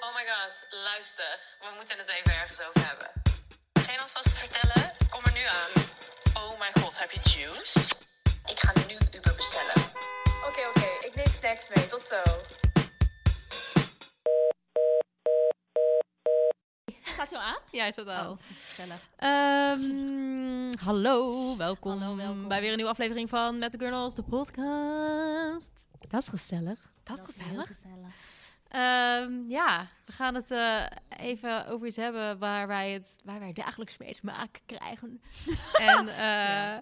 Oh my god, luister. We moeten het even ergens over hebben. Geen alvast vertellen? Kom er nu aan. Oh mijn god, heb je juice? Ik ga nu Uber bestellen. Oké, oké. Ik neem snacks mee. Tot zo. Gaat zo aan? Ja, is dat al. gezellig. Ehm, hallo, welkom, Hallo, welkom. bij weer een nieuwe aflevering van Met de Girls, de podcast. Dat is gezellig. Dat is Heel gezellig. gezellig. Ehm, ja, we gaan het eh, even over iets hebben waar wij, het, waar wij dagelijks mee te maken krijgen. Nou, en eh,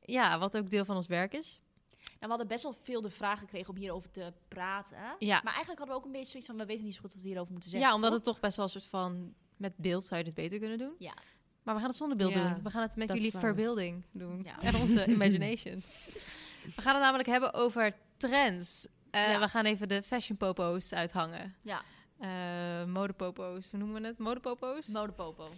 ja. wat ook deel van ons werk is. Nou, we hadden best wel veel de vraag gekregen om hierover te praten. Ja. Maar eigenlijk hadden we ook een beetje zoiets van, we weten niet zo goed wat we hierover moeten zeggen. Ja, omdat toch? het toch best wel een soort van... Met beeld zou je dit beter kunnen doen. Ja. Maar we gaan het zonder beeld Ja, doen. We gaan het met dat jullie is waar. verbeelding doen. Ja. En onze imagination. We gaan het namelijk hebben over trends. Eh, Ja. We gaan even de fashion popo's uithangen. Ja. Eh, modepopo's, hoe noemen we het? Modepopo's? Modepopo.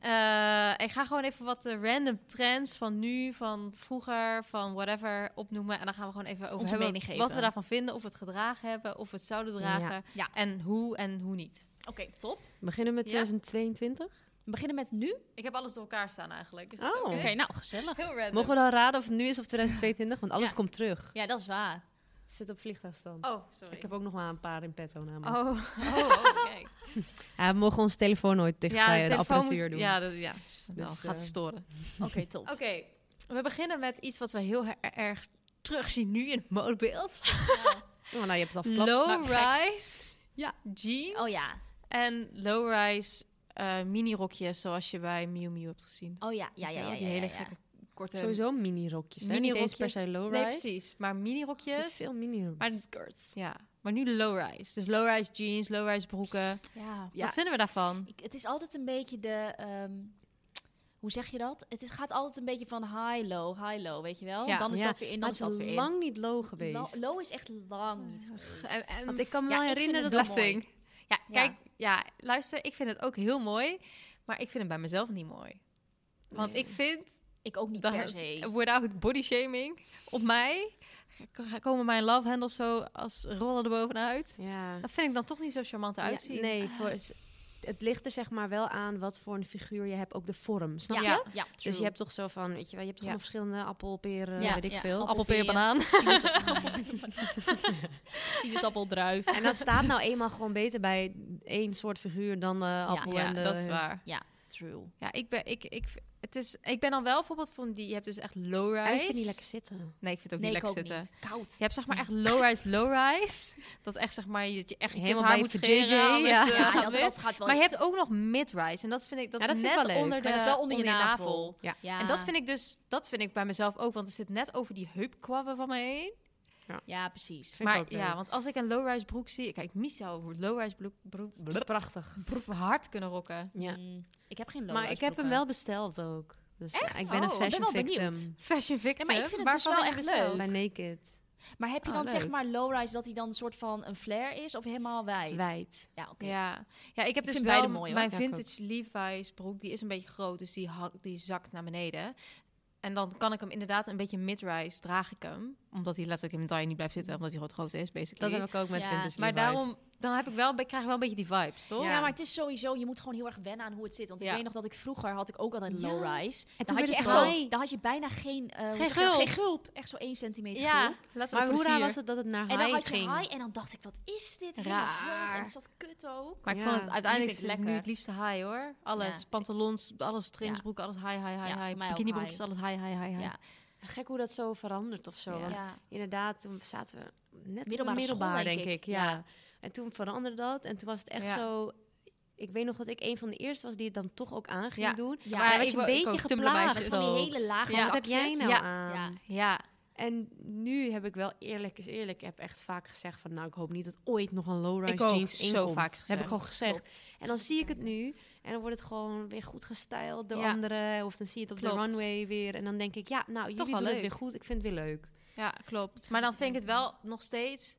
Eh, ik ga gewoon even wat eh, random trends van nu, van vroeger, van whatever opnoemen. En dan gaan we gewoon even over Onze hebben mening geven. wat we daarvan vinden. Of we het gedragen hebben, of we het zouden dragen. Ja. En hoe en hoe niet. Oké, top. We beginnen met Ja. 2022. We beginnen met nu. Oké, Ik heb alles door elkaar staan eigenlijk. dus Is Oh. dat oké? Oké. nou, gezellig. Heel random. Mogen we dan raden of het nu is of 2022? Want alles Ja. komt terug. Ja, dat is waar. Zit op vliegtuigstand. Oh, sorry. Ik heb ook nog maar een paar in petto namelijk. Oh, Oh, kijk. Ja, we mogen onze telefoon nooit dicht bij de, apparatuur doen. Ja, dat, ja. Nou, Dus, gaat eh, storen. Oké, top. Oké, we beginnen met iets wat we heel her- erg terugzien nu in het modebeeld. Oh, nou, je hebt het al verklapt. Low-rise Ja. jeans. Oh ja. En low-rise eh mini-rokjes zoals je bij Miu Miu hebt gezien. Oh ja, ja, ja, Weet je ja. wel, ja, Die ja, hele ja. gekke korte... Sowieso mini-rokjes. hè? Niet eens Mini-rokjes. per se low-rise. Nee, precies. Maar Er zitten mini-rokjes. veel mini-rokjes. Maar- skirts. Ja, maar nu low-rise. Dus low-rise jeans, low-rise broeken. Ja. Wat vinden we daarvan? Ik, het is altijd een beetje de. ehm, hoe zeg je dat? Het is, gaat altijd een beetje van high-low, high-low, weet je wel? Ja, dan is ja. dat weer in, Maar dan het is dat weer is in. lang niet low geweest. Lo- low is echt lang niet geweest. En- en- Want ik kan me Ja, wel ik vind herinneren het dat... wel belasting. Ja, Ja. kijk, ja, luister, ik vind het ook heel mooi, maar ik vind het bij mezelf niet mooi. Want ik vind, Ik ook oh, niet Dat- per se. without body shaming, op mij k- komen mijn love handles zo als rollen erbovenuit. Ja. Dat vind ik dan toch niet zo charmant uitzien. Ja, nee, voor, het ligt er zeg maar wel aan wat voor een figuur je hebt. Ook de vorm, snap ja, je? ja, Dus je hebt toch zo van, weet je wel, je hebt toch Ja. nog verschillende appel, peren, Ja, weet ik ja, veel. appel- Appelpeer, appelpeer. banaan. sinaasappel, druif. En dat staat nou eenmaal gewoon beter bij één soort figuur dan de appel Ja, en de... dat is waar. Ja, true. Ja, ik ben, ik, ik, het is, ik ben dan wel bijvoorbeeld van die, je hebt dus echt low-rise. En ik vind die lekker zitten. Nee, ik vind het ook nee, niet ik ook lekker zitten. niet. Koud. Je hebt zeg maar echt low-rise, low-rise. Dat echt zeg maar, je, dat je echt je Helemaal kind haar bij moet voor scheren. anders, JJ, ja. eh, Dus, Ja, gaat dat, mis. dat gaat wel. Maar je hebt ook nog mid-rise. En dat vind ik, dat Ja, dat is vind ik net wel leuk. onder de Maar dat is wel onder je navel. Ja. ja. En dat vind ik dus, dat vind ik bij mezelf ook. Want het zit net over die heupkwabben van me heen. Ja, precies. Vind ik maar ook leuk. ja, want als ik een low-rise broek zie... Kijk, Mies zou een low-rise broek, broek, Dat is prachtig. broek hard kunnen rocken. Ja. Mm, ik heb geen low Maar ik heb hem wel besteld ook. Dus ik ben een Oh, ik fashion ben wel victim. benieuwd. Fashion victim. maar ik vind het Waarvan dus wel heb je echt besteld? leuk. Bij Naked. Maar heb je Oh, dan zeg leuk. maar low-rise dat hij dan een soort van een flare is of helemaal wijd? Wijd. Ja, oké. Ja. ja, ik heb dus vind wel beide mooi, hoor. mijn Ja, ik ook. vintage Levi's broek, die is een beetje groot, dus die, hak- die zakt naar beneden. En dan kan ik hem inderdaad een beetje mid-rise draag ik hem, omdat hij letterlijk in mijn taille niet blijft zitten, omdat hij groot groot is, Dat basically. heb ik ook met Ja, vintage maar Levi's. daarom dan heb ik wel, ik krijg wel een beetje die vibes, toch? Ja, maar het is sowieso, je moet gewoon heel erg wennen aan hoe het zit. Want ik Ja. weet nog dat ik vroeger had ik ook altijd Ja. low-rise. En Dan toen had werd je het echt wel- zo, dan had je bijna geen, eh, hoe zeg Geen je dat? gulp. geen gulp. Echt zo 1 centimeter ja gulp. laten we Maar hoe raar versieren. was het dat het naar En dan high had je ging? high en dan dacht ik, wat is dit? Helemaal Raar. hoog. En is dat kut ook? Maar ik Ja. vond het uiteindelijk Die is vind ik het nu lekker. het liefste high hoor. Alles, Ja. pantalons, alles, Ja. trainingsbroeken, alles high, high, high, Ja, voor high. mij ook Bikinibroekjes, high. alles high, high, high, high. Ja. Gek hoe dat zo verandert of zo. Ja. Want Ja. inderdaad, toen zaten we net middelbaar, Middelbare school, middelbaar denk denk, ik. ik. ja. Ja. En toen veranderde dat. En toen was het echt Ja. zo... Ik weet nog dat ik een van de eerste was die het dan toch ook aan ging Ja. doen. Ja, ja, maar hij was ik een wou- ik beetje ook, Tumblrmeisjes. geplaagd. Van die ook. hele lage Ja. Wat heb jij zakjes. nou Ja. aan? Ja. ja. En nu heb ik wel eerlijk is eerlijk, heb echt vaak gezegd van, nou, ik hoop niet dat ooit nog een Ik low-rise ook, jeans zo inkomt. vaak Heb gezegd. ik gewoon gezegd. Klopt. En dan zie ik het nu en dan wordt het gewoon weer goed gestyled door Ja. anderen of dan zie je het op Klopt. de runway weer en dan denk ik, ja, nou, jullie wel doen het leuk. weer goed. Ik vind het weer leuk. Ja, klopt. Maar dan vind ik het wel nog steeds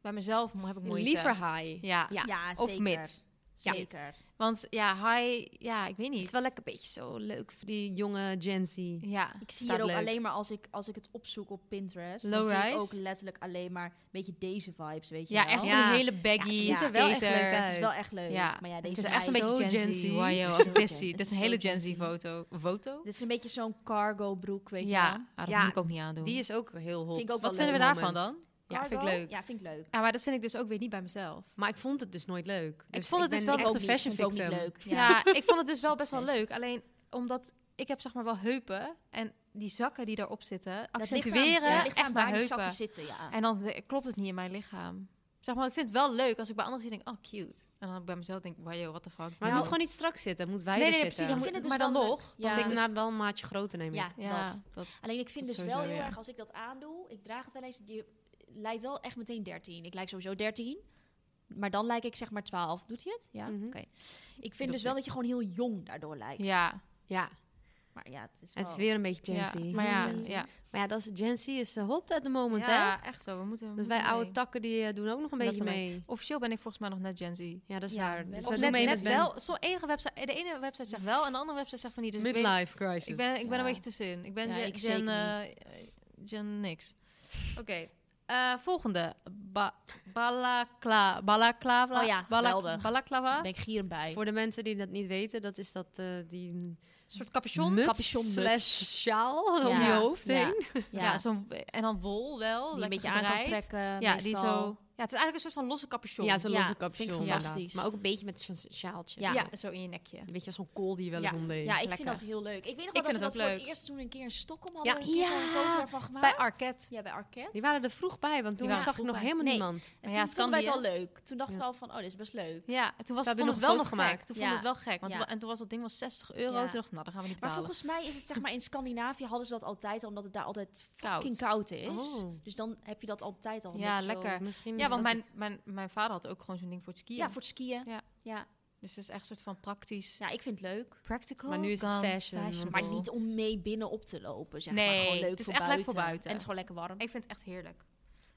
bij mezelf mo- heb ik moeite. Liever high. Ja. Ja. Ja, Of zeker. mid. Ja. Zeker. Want ja, hi, ja, ik weet niet. Het is wel lekker een beetje zo leuk voor die jonge Gen Z. Ja, Ik zie staat hier ook leuk. alleen maar als ik, als ik het opzoek op Pinterest. Low dan zie ik rise? ook letterlijk alleen maar een beetje deze vibes, weet je Ja, wel. echt Ja. van die hele baggy Ja, het ziet ziet er skater. wel echt leuk uit. Het is wel uit. echt leuk. Ja. Maar ja, Het deze is echt een meid- beetje Zo Gen Gen Z. Z. Wajo, Zo als Gen dit Z. zie. Het Dit is is een zo hele Gen Gen Z Z. foto. foto? Dit is een beetje zo'n cargo broek, weet je Ja, wel. ah, dat Ja, moet ik ook niet aandoen. Die is ook heel hot. Vind ik ook Wat wel vinden we leuk daarvan moment. dan? Ja, vind ik Cargo? leuk. Ja, vind ik leuk. Ja, maar dat vind ik dus ook weer niet bij mezelf. Maar ik vond het dus nooit leuk. Dus ik vond het dus ben wel echt ook een niet. fashion Ik vond het ook victim. niet leuk. Ja, ik vond het dus wel best wel Nee. leuk. Alleen omdat ik heb zeg maar wel heupen en die zakken die daarop zitten Dat ligt aan- accentueren ja, ligt echt aan mijn waar die heupen. zakken zitten, ja. En dan eh, klopt het niet in mijn lichaam. Zeg maar, ik vind het wel leuk als ik bij anderen zie denk, oh cute. En dan bij mezelf denk, wow, what the fuck. Maar het Nou, moet gewoon niet strak zitten. Het nee, moet wijder nee, nee, precies. zitten. Dan Ik moet, vind het maar dus dan wel leuk. nog, Ja. dan Dus zit ik ik Dus- na- na wel een maatje groter neem ik. Ja, dat. ja, dat. Alleen ik vind dus Dat sowieso, wel heel ja. erg, als ik dat aandoe, ik draag het wel eens, je lijkt wel echt meteen 13. Ik lijk sowieso 13, maar dan lijk ik zeg maar 12. Doet hij het? Ja. Mhm. Oké. Ik vind dus wel dat je gewoon heel jong daardoor lijkt. Ja, Ja, Maar ja, het is het wel- is weer een beetje Gen ja, Z. maar ja, Gen Z. ja. Maar ja, dat is, Gen Z is eh, hot at the moment, hè? ja, echt zo. We moeten, we Dus moeten wij oude mee. takken die eh, doen ook nog een beetje Letterlijk. mee. Officieel ben ik volgens mij nog net Gen Z. Ja, dat is Ja, waar. best Dus wel. we Of doen net, mee net met Ben. wel. Zo enige website, de ene website zegt wel en de andere website zegt van niet. Dus ik weet- Midlife crisis. Ik ben, ik ben Ja. een beetje tussenin. Ik ben Ja, Gen, ik Gen, zeker eh, Gen niks. Oké. eh, volgende. Ba balakla balaklava. Oh ja, balak- geweldig. Balaklava. ben ik gieren bij. Voor de mensen die dat niet weten, dat is dat eh, die Een soort capuchon. muts capuchon muts. slash sjaal om Ja. je hoofd Ja. heen. Ja, ja, zo'n, en dan wol wel. die een lekker beetje aan kan gebreid. trekken. Ja, die meestal. zo. Ja, het is eigenlijk een soort van losse capuchon. Ja, zo'n Ja, losse vind ik capuchon. fantastisch. inderdaad. Maar ook een beetje met zo'n sjaaltje. Ja. ja. zo in je nekje. Weet je, zo'n kool die je wel eens Ja. omdeed. Ja, ik Lekker. vind dat heel leuk. Ik weet nog Ik wel dat vind we het dat ook voor het leuk. eerst toen een keer in Stockholm Ja, hadden. we een keer zo'n ja. foto ervan gemaakt. Bij Arket. Ja, bij Arket. Die waren er vroeg bij, want toen waren zag vroeg ik nog bij. helemaal Nee. niemand. En ja, toen vonden wij het Scandië. wel leuk. Toen dachten we Ja. al van, oh, dit is best leuk. Ja, en toen was het, Daar hebben vond we het nog wel nog foto's gemaakt. gek. Toen vond Ja. het wel gek. Want Ja. toen- en toen was dat ding was 60 euro. Ja. Toen dacht ik, nou, dan gaan we niet Maar betalen. volgens mij is het zeg maar in Scandinavië hadden ze dat altijd, omdat het daar altijd Koud. fucking koud is. Oh. Dus dan heb je dat altijd al. een Ja, beetje zo- lekker. Misschien Ja, want mijn, mijn, mijn vader had ook gewoon zo'n ding voor het skiën. Ja, voor het skiën. Ja. Ja. ja. Dus het is echt een soort van praktisch. Nou, ik vind het leuk. Practical. Maar nu is het dan fashion, fashionable. Maar niet om mee binnen op te lopen, zeg maar. Nee, Gewoon leuk het is voor echt leuk buiten. voor buiten. En het is gewoon lekker warm. Ik vind het echt heerlijk.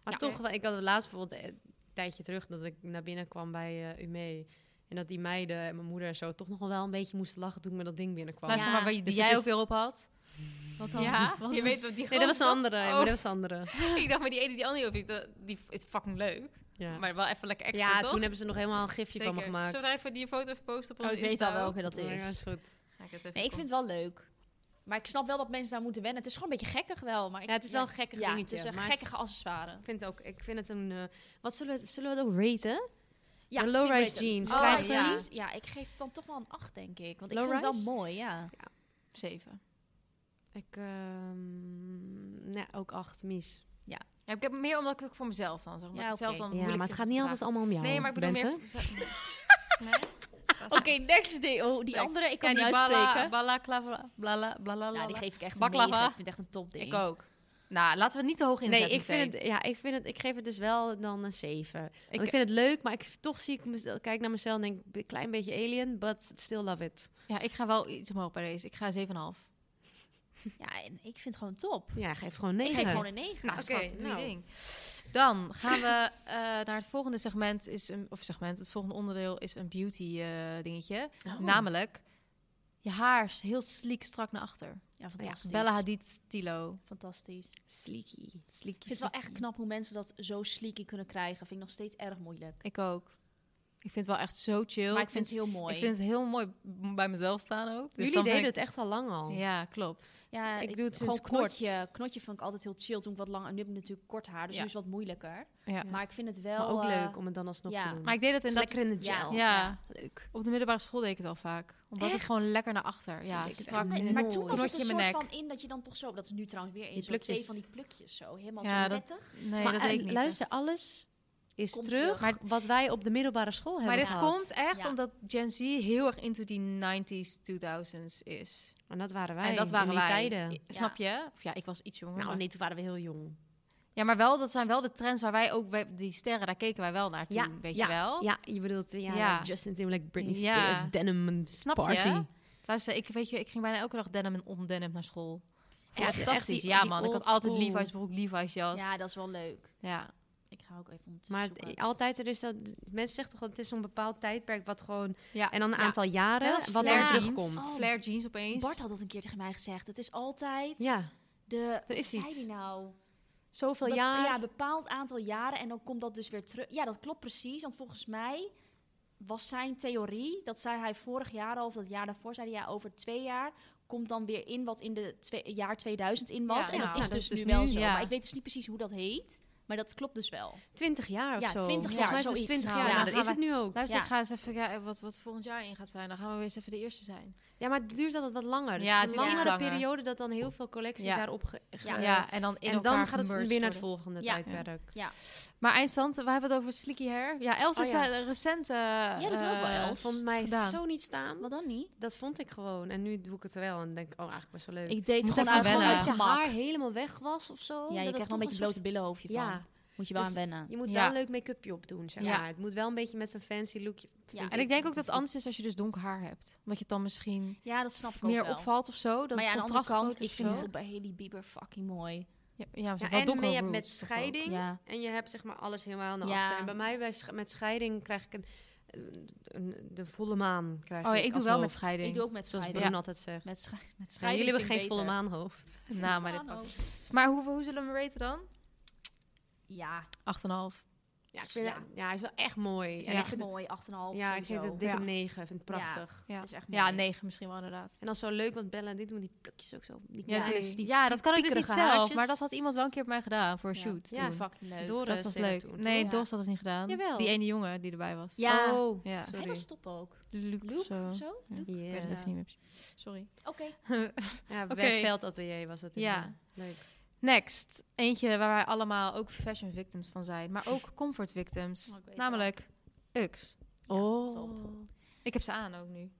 Maar Ja. toch, wel- ik had het laatst bijvoorbeeld eh, een tijdje terug dat ik naar binnen kwam bij eh Ume. En dat die meiden en mijn moeder en zo toch nog wel een beetje moesten lachen toen ik met dat ding binnenkwam. Luister Ja. maar, waar je- die Dus het jij is- ook weer op had. Wat Ja, Wat je dan? weet wat die Nee, dat was een andere. Oh. maar dat was een andere. Ik dacht, maar die ene die andere op die, die is fucking leuk. Ja, Maar wel even lekker extra, ja toch? toen hebben ze nog helemaal een gifje van me Zeker. gemaakt. Zullen we daar even die foto even posten op Oh, onze ik weet Insta al wel ook? wie dat Ja, is. is goed. Ja, ik, het even Nee, ik op- vind het wel leuk. Maar ik snap wel dat mensen daar moeten wennen. Het is gewoon een beetje gekkig wel. Maar ik, Ja, het is wel een gekkig ja, dingetje. Het is een maar het- gekkige accessoire. Ik vind, het ook, ik vind het een... eh, wat zullen we, zullen we het ook raten? Ja, De ik low-rise vind het leuk. jeans, Oh, krijgen ja. we jeans. Ja, ik geef het dan toch wel een 8, denk ik. Want ik vind het Low-rise? wel mooi, ja. Zeven. Ik... ehm, nee, ook acht, mis. Ja, ik heb meer omdat ik het ook voor mezelf dan, zeg maar. Ja, het zelf oké. dan Ja, moeilijk maar het gaat vind niet om te altijd dragen. allemaal om jou. Nee, maar ik bedoel Bente. meer... voor- nee? Oké, next day. Oh, die andere, ik kan ja, niet die bala, uitspreken. bala, bla, bla, bla, Ja, die geef ik echt Baklava. een 9. Ik vind het echt een topding. Ik ook. Nou, laten we het niet te hoog inzetten. Nee, ik vind het, ja, ik vind het, ik geef het dus wel dan een 7. Want Ik, Ik- vind het leuk, maar ik toch zie ik mezelf, kijk naar mezelf en denk een klein beetje alien, but still love it. Ja, ik ga wel iets omhoog bij deze. Ik ga 7,5. Nou, Ja, en ik vind het gewoon top. Ja, geef gewoon Ik 9. geef gewoon een 9. Oké, schat, doe je nou. ding. Dan gaan we eh, naar het volgende segment. Is een, of segment, het volgende onderdeel is een beauty eh, dingetje. Oh. Namelijk, je haar is heel sleek strak naar achter. Ja, fantastisch. Bella Hadid stilo. Fantastisch. Sleeky. Ik vind het wel echt knap hoe mensen dat zo sleeky kunnen krijgen. Vind ik nog steeds erg moeilijk. Ik ook. Ik vind het wel echt zo chill. Maar ik vind het heel mooi. Ik vind het heel mooi m- bij mezelf staan ook. Dus Jullie dan deden ben het echt al lang al. ik- Ja, klopt. ja, ik doe het gewoon sinds kort. knotje. Knotje vond ik altijd heel chill toen ik wat langer... En nu heb ik natuurlijk kort haar, dus Ja. nu is het wat moeilijker. Ja. Maar ik vind het wel... Maar ook eh, leuk om het dan alsnog ja. te doen. Maar ik deed het Het is in dat lekker in de ja. gel. Ja, Leuk. op de middelbare school deed ik het al vaak. Omdat Echt? het gewoon lekker naar achter. Ja, Ik vind het strak. Nee, Mooi. maar toen was het Knotje een in soort mijn nek. van in dat je dan toch zo... Dat is nu trouwens weer in Die zo twee plukjes. van die plukjes zo. Helemaal Ja, zo dat- prettig. Nee, maar dat deed en ik niet. luister, echt. alles is Komt terug, terug. maar wat wij op de middelbare school hebben maar dit gehad. komt echt Ja. omdat Gen Z heel erg into die 90s, 2000s is. En dat waren wij en dat waren in die wij. tijden. I- Snap je? Of ja, ik was iets jonger. Nou maar- nee, toen waren we heel jong. Ja, maar wel, dat zijn wel de trends waar wij ook, wij- die sterren, daar keken wij wel naar toen, weet je wel? Ja, je bedoelt ja, Ja. Justin Timberlake, Britney Ja. Spears, denim en Snap party. je? Luister, ik, weet je, ik ging bijna elke dag denim en ondenim naar school. Ja, Ja, het is echt fantastisch. die- ja, die man. Ik had old altijd school. Levi's broek, Levi's jas. Ja, Ja. dat is wel leuk. ja. Ik Ik ga ook even Maar ondertussen het- zoeken. altijd, er is dat, mensen zeggen toch dat het is zo'n bepaald tijdperk wat gewoon... Ja. En dan een Ja. aantal jaren, wat flare daar jeans. terugkomt. Oh. Flare jeans opeens. Bart had dat een keer tegen mij gezegd. Het is altijd Ja, de... Wat is zei iets. die nou? zoveel Bep- jaar. Ja, bepaald aantal jaren en dan komt dat dus weer terug. Ja, dat klopt precies. Want volgens mij was zijn theorie, dat zei hij vorig jaar al, of dat jaar daarvoor, zei hij ja, over twee jaar komt dan weer in wat in de twee- jaar 2000 in was. Ja, en dat nou, is dat dus is dus nu wel nu, zo. ja. Maar ik weet dus niet precies hoe dat heet, maar dat klopt dus wel. 20 jaar of Ja, zo. 20 Volgens jaar, mij is het zoiets. 20 Nou, jaar. ja, Nou, gaan dat is we- het nu ook. Luister, Ja. ik ga eens even kijken wat, wat volgend jaar in gaat zijn. Dan gaan we weer eens even de eerste zijn. Ja, maar het duurt altijd wat langer. Dus Ja, het het is een duurt iets langere langer. periode dat dan heel veel collecties Ja. daarop... Ge, ge- Ja. en dan en dan gaat het weer gemerged naar het worden. volgende Ja. tijdperk. Maar eindstand, we hebben het over Sleeky Hair. Ja, Els Oh, is ja. daar recent... eh, dat is ook wel eh, Els. Vond mij Gedaan. zo niet staan. Wat dan niet? Dat vond ik gewoon. En nu doe ik het wel en denk ik, oh, eigenlijk best wel leuk. Ik deed Moet het gewoon even uit gewoon wennen. uit als je gemak. haar helemaal weg was of zo. Ja, je dat krijgt wel het een beetje toch blote billenhoofdje van. Ja, Moet je wel Dus aan wennen. je moet Ja. wel een leuk make-upje op doen, zeg Ja. maar. Het moet wel een beetje met een fancy lookje. vind Ja, En ik denk ook dat het anders is als je dus donker haar hebt. Omdat je het dan misschien Ja, dat snap ik ook meer wel. opvalt of zo. Dat maar ja, het aan de andere contrast kant, groter ik is vind of zo. bijvoorbeeld bij Haley Bieber fucking mooi. Ja, ja, maar ze Ja, heeft en wel mee donkere hebt met roots toch ook. scheiding. Ja. En je hebt zeg maar alles helemaal naar Ja. achter. En bij mij bij sch- met scheiding krijg ik een, een- de volle maan. Krijg Oh ja, ik, ik doe als wel met hoofd. scheiding. Ik doe ook met Zoals scheiden. Bron altijd zegt. Met, sche met Ja, scheiden jullie hebben vind geen ik volle beter. maanhoofd. Nou, maar, dit, maar hoe, hoe zullen we hem raten dan? 8,5. Ja, 8,5. Ja, ik vind, Ja. ja. hij is wel echt mooi. het is En Ja. ik echt vind, mooi. 8,5 ja, ik vind het dikke Ja. negen. Ik vind het prachtig. Ja. is echt ja, mooi. 9 misschien wel inderdaad. En dat is zo leuk, want Bella en dit doen die plukjes ook zo. Die Ja, ja, die- die ja, dat kan ik dus niet piekerige zelf. haartjes. Maar dat had iemand wel een keer bij mij gedaan voor een Ja. shoot. Ja, toen. fucking leuk. Doris eh, dat was deed dat leuk. toen, nee, toch? Dos had het niet gedaan. Jawel. Die ene jongen die erbij was. Ja. Oh, Ja. sorry. Hij was top ook. Luc of Luke zo. of zo? Luke? Ja. Ik weet het even niet meer. precies. Sorry. Oké. Ja, Oké. Wegveld Atelier was het. Ja. inderdaad. Leuk. Next. Eentje waar wij allemaal ook fashion victims van zijn. Maar ook comfort victims. Oh, ik weet Namelijk Ux. oh. Ik heb ze aan ook nu.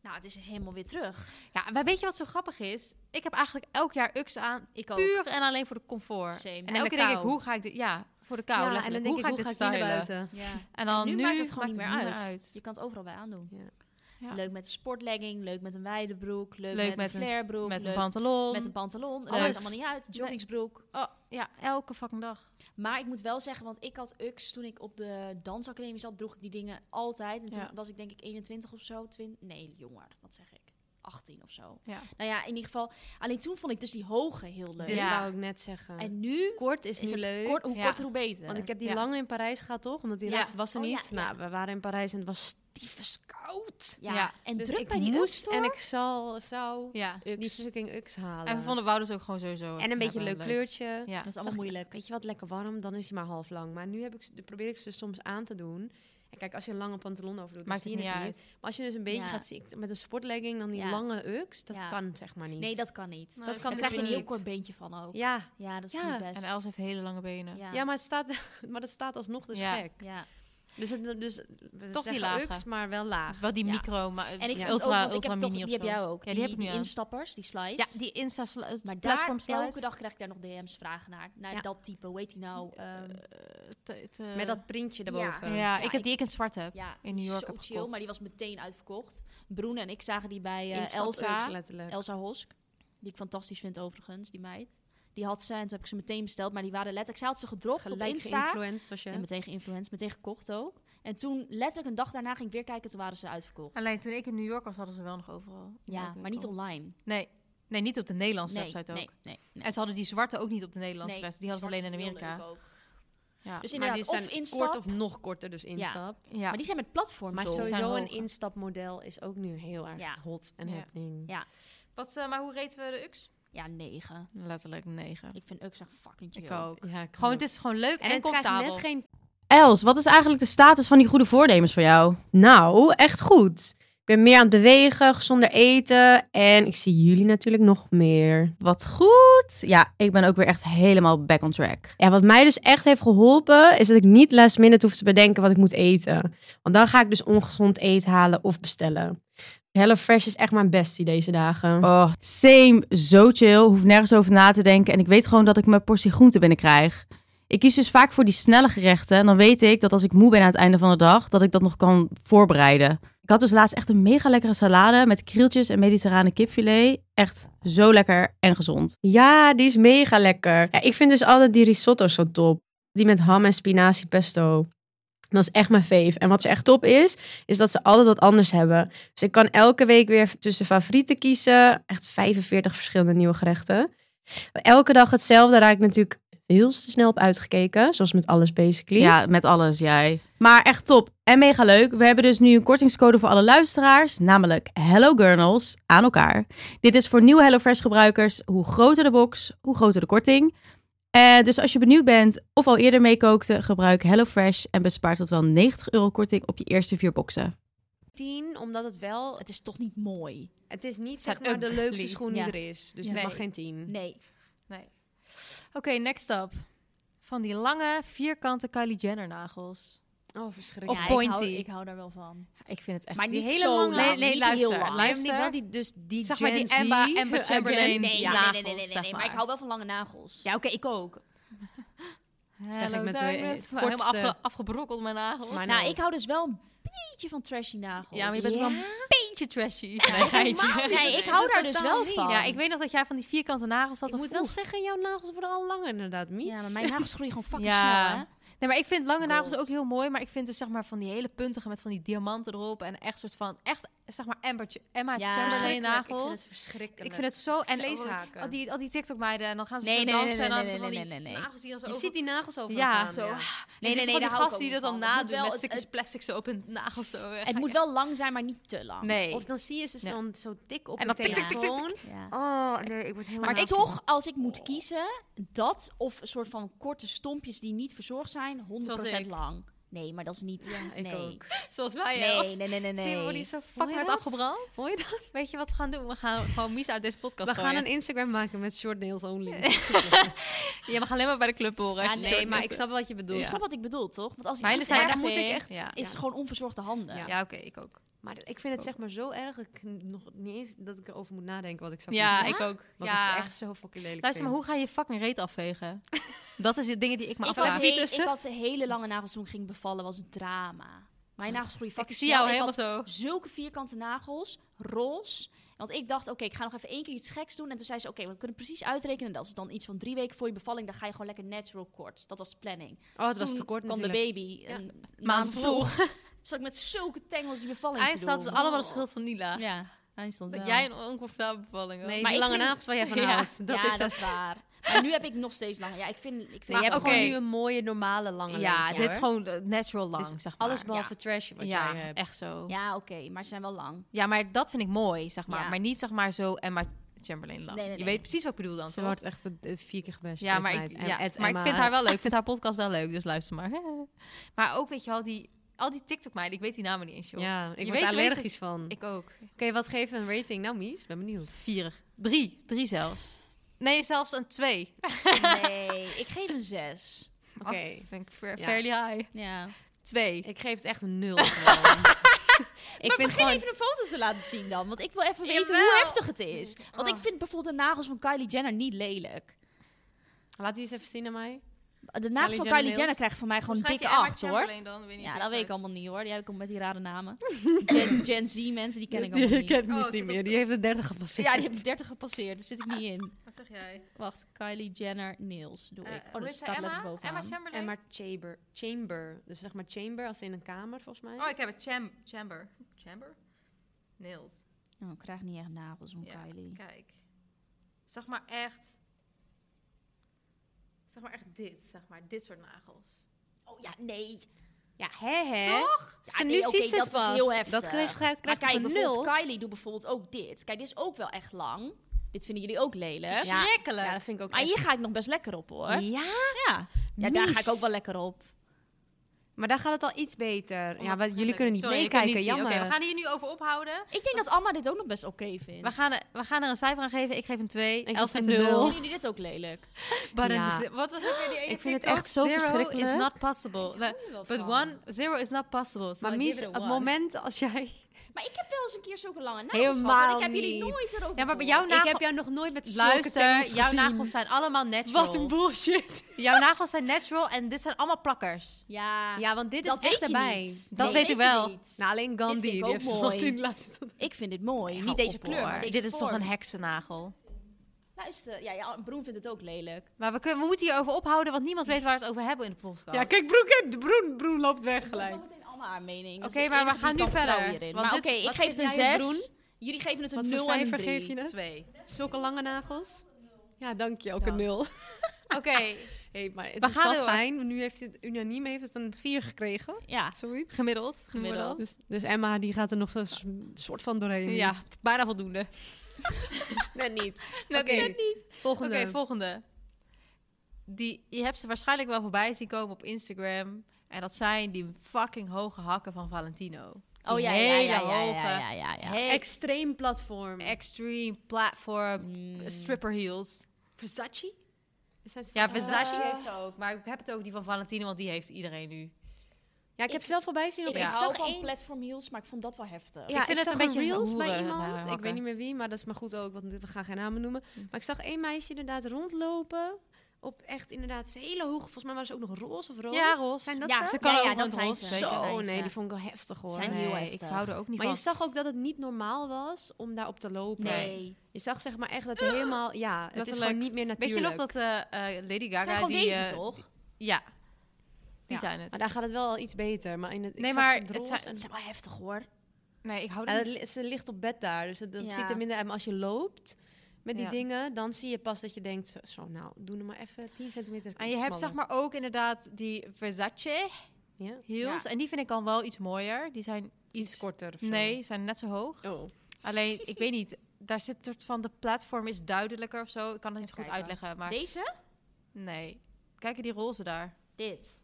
Nou, het is helemaal weer terug. Ja, maar weet je wat zo grappig is? Ik heb eigenlijk elk jaar Ux aan. Ik ook. Puur en alleen voor de comfort. Same. En, En de elke keer denk ik, kou. hoe ga ik dit... Ja, voor de kou. Ja, en dan letterlijk. denk hoe ga ik, ik dit ga ik hier naar stylen? buiten? Ja. En dan nu, nu, maakt het gewoon niet meer, het uit. Je kan het overal bij aandoen. Ja. Ja. Leuk met een sportlegging, leuk met een wijde broek, leuk, Leuk met, met een een- flarebroek, Met een leuk pantalon. met een pantalon. Dat Alles. maakt allemaal niet uit. Joggingsbroek. Oh, ja, elke fucking dag. Maar ik moet wel zeggen, want ik had UX toen ik op de dansacademie zat, droeg ik die dingen altijd. En toen Ja. was ik denk ik 21 of zo, 20, nee jonger, wat zeg ik, 18 of zo. Ja. Nou ja, in ieder geval, alleen toen vond ik dus die hoge heel leuk. Dit Ja. wou ik net zeggen. En nu kort is, is nu het leuk. kort, hoe Ja. korter hoe beter. Want ik heb die Ja. lange in Parijs gehad, toch? Omdat die Ja. rest was er Oh, ja, niet. ja. Nou, we waren in Parijs en het was stiefes koud. ja. Ja. En Dus druk ik bij die moest UX-store. En ik zal, zou Ja. die fucking Ux halen. En we vonden Wouders ook gewoon sowieso... en een beetje hebben een leuk, kleurtje. Ja. Dat is allemaal moeilijk. Weet je wat, lekker warm, dan is hij maar half lang. Maar nu heb ik, ze- probeer ik ze soms aan te doen. En kijk, als je een lange pantalon over doet, dan Maakt het zie je niet het uit. Maar als je dus een beetje Ja. gaat zien, ik- met een sportlegging, dan die Ja. lange Ux, dat Ja. kan zeg maar niet. Nee, dat kan niet. Nee, dat Nou, dat kan, daar kan krijg je een dus heel niet. kort beentje van ook. Ja, Ja. dat is Ja. niet best. En Els heeft hele lange benen. ja. Ja, maar het staat, maar dat staat alsnog dus Ja. gek. Ja. Dus, het, dus we Toch die zeggen lage. Ux, maar wel laag. Wel die Ja. micro, maar En ik Ja. vind het ook, ultra, want ik ultra heb toch, mini die of heb zo. jij ook. Ja, die, heb ik nu die aan. instappers, die slides. Ja, die Insta sli- Maar daar, platform slides. elke dag krijg ik daar nog DM's vragen naar. Naar Ja. dat type, weet hij nou? ehm, Eh, te- te- Met dat printje erboven. Ja, Ja, ik ik- heb die ik in het zwart heb. ja, in New die is York zo heb chill, gekocht. maar die was meteen uitverkocht. Broen en ik zagen die bij eh, Instap Ux, Elsa. letterlijk. Elsa Hosk. Die ik fantastisch vind overigens, die meid. Die had ze en toen heb ik ze meteen besteld. Maar die waren letterlijk... Zij had ze gedropt op Gelijk Insta. geïnfluenced was je. En meteen geïnfluenced, meteen gekocht ook. En toen letterlijk een dag daarna ging ik weer kijken, toen waren ze uitverkocht. Alleen toen ik in New York was, hadden ze wel nog overal. Ja, maar niet online. Nee. nee, niet op de Nederlandse Nee, website ook. nee, nee, nee. En ze hadden die zwarte ook niet op de Nederlandse Nee, website. Die hadden ze alleen zwart in is heel Amerika. leuk ook. Ja. Dus maar inderdaad, die of zijn instap, kort of nog korter dus instap. ja. maar die zijn met platforms Maar op. Zo. sowieso Zijn een hoger. instapmodel is ook nu heel erg Ja. hot en Ja. happening. Wat, eh, maar hoe reten we de UX? Ja, negen. Letterlijk negen. Ik vind Ux echt fucking chill. Ik ook. Ja, ik Gewoon, ook. het is gewoon leuk en, en het krijgt comfortabel. net geen Els, wat is eigenlijk de status van die goede voornemens voor jou? Nou, echt goed. Ik ben meer aan het bewegen, gezonder eten en ik zie jullie natuurlijk nog meer. Wat goed. Ja, ik ben ook weer echt helemaal back on track. Ja, wat mij dus echt heeft geholpen is dat ik niet last minute hoef te bedenken wat ik moet eten. Want dan ga ik dus ongezond eten halen of bestellen. HelloFresh is echt mijn bestie deze dagen. Oh, same. Zo chill. Hoef nergens over na te denken. En ik weet gewoon dat ik mijn portie groente binnenkrijg. Ik kies dus vaak voor die snelle gerechten. En dan weet ik dat als ik moe ben aan het einde van de dag, dat ik dat nog kan voorbereiden. Ik had dus laatst echt een mega lekkere salade met krieltjes en mediterrane kipfilet. Echt zo lekker en gezond. Ja, die is mega lekker. Ja, ik vind dus altijd die risotto zo top. die met ham en spinazie pesto. Dat is echt mijn fave. En wat ze echt top is, is dat ze altijd wat anders hebben. Dus ik kan elke week weer tussen favorieten kiezen. Echt 45 verschillende nieuwe gerechten. Elke dag hetzelfde, daar raak ik natuurlijk heel te snel op uitgekeken. Zoals met alles basically. Ja, met alles, jij. Maar echt top en mega leuk. We hebben dus nu een kortingscode voor alle luisteraars, namelijk Hello Gurnals aan elkaar. Dit is voor nieuwe HelloFresh gebruikers. Hoe groter de box, hoe groter de korting. Eh, dus als je benieuwd bent of al eerder meekookte, gebruik HelloFresh en bespaart tot wel 90 euro korting op je eerste vier boxen. 10, omdat het wel... Het is toch niet mooi? Het is niet Zijn zeg maar de ugly. leukste schoen Ja. die er is. Dus Ja. het mag Nee. geen 10. Nee. Oké, next up. Van die lange, vierkante Kylie Jenner nagels. Oh, Of verschrikkelijk. Ja, ik pointy. hou- Ik hou, daar wel van. Ik vind het echt... Maar die niet hele zo lange- lang, Nee, nee, niet luister. heel lang. luister. Luister. wel die, dus die Zeg maar die Gen Z, Emma- Emma eh, Chamberlain. Gen- Nee, nee, ja, nee, nee, nee, nee, nagels, zeg nee, maar. maar. ik hou wel van lange nagels. Ja, oké, ik ook. Hello, Zeg ik met de darkness. kortste- Helemaal afge- afgebrokkeld mijn nagels. Maar nou, ik hou dus wel een beetje van trashy nagels. Ja, maar je bent wel een beetje trashy. Nee, helemaal niet. Nee, ik hou daar dus wel van. Ja, ik weet nog dat jij van die vierkante nagels had. Ik of moet wel vroeg. zeggen, jouw nagels worden al lang inderdaad, Mies. Ja, maar mijn nagels groeien gewoon fucking Ja. snel, hè? Nee, maar ik vind lange nagels Girls. ook heel mooi. Maar ik vind dus zeg maar van die hele puntige met van die diamanten erop. En echt soort van, echt zeg maar Amber, Ch- Emma Ja. Chamberlain Verschrikkelijk. Ik vind nagels. het verschrikkelijk. Ik vind het zo... En Vleeshaken. Al die, al die TikTok meiden. En dan gaan ze Nee, zo nee, dansen. nee, en dan nee, hebben ze nee, van nee, die nee, nee. nagels die dan zo... Je over- ziet die nagels over Ja, elkaar, zo. Nee, nee, nee, van die daar hou ik gasten ook die dat wel dan van. Het moet nadoen wel- met het- stukjes het- plastic zo op hun nagels. Zo. eh, Het moet wel lang zijn, maar niet te lang. Nee. Of dan zie je ze Ja. dan zo dik op En en dan de tik, tik, tik, tik, tik. telefoon. Ja. Oh, nee, ik word helemaal Maar toch, als ik moet kiezen, dat of een soort van korte stompjes die niet verzorgd zijn, 100% Zoals ik. lang. Nee, maar dat is niet... ik nee. ook. Zoals wij. hè, Ah, als- Nee, nee, nee, nee, Zie je, we worden nee. hier zo fucking hard afgebrand. Hoor je dat? Weet je wat we gaan doen? We gaan gewoon Mies uit deze podcast We gaan gooien. een Instagram maken met short nails only. Ja, we gaan alleen maar bij de club Ja, horen. als je nee, short maar nails snap wat je bedoelt. Ik snap wat ik bedoel, toch? Want als ik Mijne iets zijn erg echt- ah, vind, moet ik echt- Ja, is gewoon onverzorgde handen. Ja, Ja. oké, ik ook. Maar ik vind het zeg maar zo erg dat ik nog niet eens dat ik erover moet nadenken wat ik zou Ja, kiezen. ik ook. Want ja. het is echt zo fucking lelijk. Luister, maar vind. hoe ga je fucking reet afvegen? dat is de dingen die ik me Ik, had afvraag. he- ik had hele lange nagels toen ik ging bevallen, was het drama. Mijn nagels groeien Ik fucking zie snel. jou Ik helemaal had zo. zulke vierkante nagels, roze. Want ik dacht, oké, ik ga nog even één keer iets geks doen. En toen zei ze, oké, we kunnen precies uitrekenen. Dat is dan iets van drie weken voor je bevalling. Dan ga je gewoon lekker natural kort. Dat was de planning. Oh, dat was Toen te kort kwam de natuurlijk. baby een maand, Maand vroeg. Zat ik met zulke tengels die bevalling Eindstand te is doen. dus allemaal de schuld van Nila. Ja, eindstand Dat wel. jij een oncomfortabele bevalling had. Nee, Maar die ik lange vind- nagels waar jij van ja, houdt. Dat ja, is dat dat. is waar. Maar nu heb ik nog steeds langer. Ja, ik vind... Ik vind Maar je hebt oké. gewoon nu een mooie, normale lange Ja, lengte, dit is hoor. gewoon eh, natural lang, Dus zeg maar. Alles behalve trash wat ja, jij hebt. echt zo. Ja. Ja, oké, maar ze zijn wel lang. maar dat vind ik mooi, zeg maar. Ja. Maar niet zeg maar zo Emma Chamberlain lang. Nee, nee, Je nee. weet precies wat ik bedoel dan, Ze toch? wordt echt eh, vier keer gebest. Ja, deze maar, meid. ik, En- ja, en maar ik Emma. vind haar wel leuk. Ik vind haar podcast wel leuk, dus luister maar. maar ook, weet je wel, die, al die TikTok-meiden, ik weet die namen niet eens, joh. Ja, ik Je word weet- allergisch van. Ik ook. Oké, wat geven we een rating? Nou, Mies, ben benieuwd. Vier. Drie. Drie zelfs. Nee, zelfs een twee. Nee, ik geef een zes. Oké, Vind ik fair- Ja. fairly high. Ja. Twee. ik geef het echt een nul. gewoon. ik maar vind begin gewoon... even een foto's te laten zien dan. Want ik wil even weten Jawel. hoe heftig het is. Want ik vind bijvoorbeeld de nagels van Kylie Jenner niet lelijk. Laat die eens even zien aan mij. De nagels van Jenner Kylie nails. Jenner krijgen van mij gewoon een Schrijf je dikke Emma acht hoor. Chamberlain dan? Weet niet Ja, hoe dat weet ik het allemaal niet hoor. Jij komt met die rare namen. Gen, Gen Z mensen, die ken ik allemaal Die niet. kent Mies Oh, niet zit meer. Die heeft de derde gepasseerd. Ja, die hebben 30 gepasseerd. Daar zit ik niet in. schrijft. Wat zeg jij? Wacht, Kylie Jenner nails doe Eh, ik. hoe Oh, dat heet zij? staat letterlijk Emma? Emma bovenaan. Chamberlain? En maar chamber. Chamber. Dus zeg maar chamber als in een kamer, volgens mij. Oh, ik heb het. Cham chamber. Chamber? Nails. Oh, ik krijg niet echt nagels van Ja, Kylie. Kijk. Zeg maar echt... Zeg maar echt dit. Zeg maar dit soort nagels. Oh ja, nee. Ja, hè hè. Toch? Ja, nee, oké, dat is heel heftig. Dat krijg, krijg, Maar krijg kijk, je van nul. bijvoorbeeld Kylie doet bijvoorbeeld ook dit. Kijk, dit is ook wel echt lang. Dit vinden jullie ook lelijk. Ja. Schrikkelijk. Ja, dat vind ik ook Maar echt- hier ga ik nog best lekker op, hoor. Ja, Ja, ja. daar ga ik Mies. ook wel lekker op. maar daar gaat het al iets beter. Ja, wat, jullie kunnen niet Sorry, ik kan meekijken, niet zien. jammer. Oké, we gaan hier nu over ophouden. Ik denk dat Amma dit ook nog best oké vindt. We gaan, er- we gaan er een cijfer aan geven. Ik geef een 2. geef Elf een het een 0. nul. Vinden jullie dit ook lelijk? Ja. Wat was het weer die ene Ik vind het TikTok? echt zo Zero is verschrikkelijk. not possible. The- er wel but van. one, zero is not possible. So Maar I Mies, give it op a het one. moment als jij... Maar ik heb wel eens een keer zulke lange nagels Helemaal gehad. en Ik heb jullie niet. nooit erover Ja, maar bij gehoord. jouw nagels... Ik heb jou nog nooit met zulke Luister, tengels jouw gezien. nagels zijn allemaal natural. Wat een bullshit. jouw nagels zijn natural en dit zijn allemaal plakkers. Ja, Ja, want dit dat is echt weet je erbij. niet. Dat Nee, weet ik je wel. niet. Nou, alleen Dit Gandhi. vind ik Die ook heeft ze mooi. nog tien laatste. Ik vind dit mooi. Hou niet deze op, kleur, hoor. maar deze Dit is toch vorm. een heksennagel? Luister, ja, ja, Broen vindt het ook lelijk. Maar we, kunnen, we moeten hierover ophouden, want niemand weet waar we het over hebben in de podcast. Ja, kijk, Broen, Broen, Broen loopt weg Dat is gelijk. wel meteen allemaal haar mening. Oké, maar we gaan nu verder, want Maar oké, dit- ik wat geef vind het een jij, Broen? 6. Jullie geven het Wat een voor 0 en een cijfer 3. geef je het? Twee. Zulke lange nagels? Ja, dank je. Ook Dank. een nul. Oké, Hey, maar het We is gaan wel door. fijn. Nu heeft het unaniem heeft het een 4 gekregen. Ja, Zoiets. gemiddeld. Gemiddeld. Gemiddeld. Dus, dus Emma die gaat er nog een s- soort van doorheen. Ja, bijna voldoende. net niet. Oké, Oké, Volgende. Oké, volgende. Die, je hebt ze waarschijnlijk wel voorbij zien komen op Instagram. En dat zijn die fucking hoge hakken van Valentino. Die oh ja, ja, hele ja, ja, hoge, ja, ja, ja, ja. he- Extreem platform. extreme platform Mm. stripper heels. Versace? Zijn ze Ja, van- Versace heeft ze ook. Maar ik heb het ook die van Valentino, want die heeft iedereen nu. Ja, ik heb ze wel voorbij zien op Ik Ja. hou zag van één- platform heels, maar ik vond dat wel heftig. Ja, ik, vind het zag een beetje reels bij hoeren iemand. bij ik hakken. weet niet meer wie, maar dat is maar goed ook, want we gaan geen namen noemen. Mm. Maar ik zag één meisje inderdaad rondlopen. Op echt inderdaad ze hele hoog. Volgens mij waren ze ook nog roze of roze. Ja, roze. Zijn dat Ja, ze? Ze kan ja, ook ja, gewoon dat het zijn roze, ze. zeker. dat Zo, zijn ze. nee, die vond ik wel heftig hoor. Zijn Nee. heel Nee, ik heftig. hou er ook niet Maar je van. zag ook dat het niet normaal was om daarop te lopen. Nee. Je zag zeg maar echt dat het helemaal... Ja, het is Letterlijk. gewoon niet meer Weet natuurlijk. je nog dat eh, eh, Lady Gaga... Het zijn gewoon die, deze, eh, toch? Ja, die Ja. zijn het. Maar daar gaat het wel iets beter. Maar in het, ik Nee, zag maar ze in het roze zijn- en- Het zijn wel heftig, hoor. Nee, ik hou Ja, er dat niet li- ze ligt op bed daar, dus dat, dat Ja. ziet er minder uit. Maar als je loopt met die Ja. dingen, dan zie je pas dat je denkt, zo, zo, nou, doe er maar even 10 centimeter En je hebt zeg smaller. maar ook inderdaad die Versace Ja. heels. En die vind ik dan wel iets mooier. Die zijn iets... Iets korter of zo. Nee, zijn net zo hoog. Oh. Alleen, ik weet niet. Daar zit een soort van... De platform is duidelijker of zo. Ik kan het niet goed kijken. uitleggen, maar... Deze? Nee. Kijken die roze daar. Dit.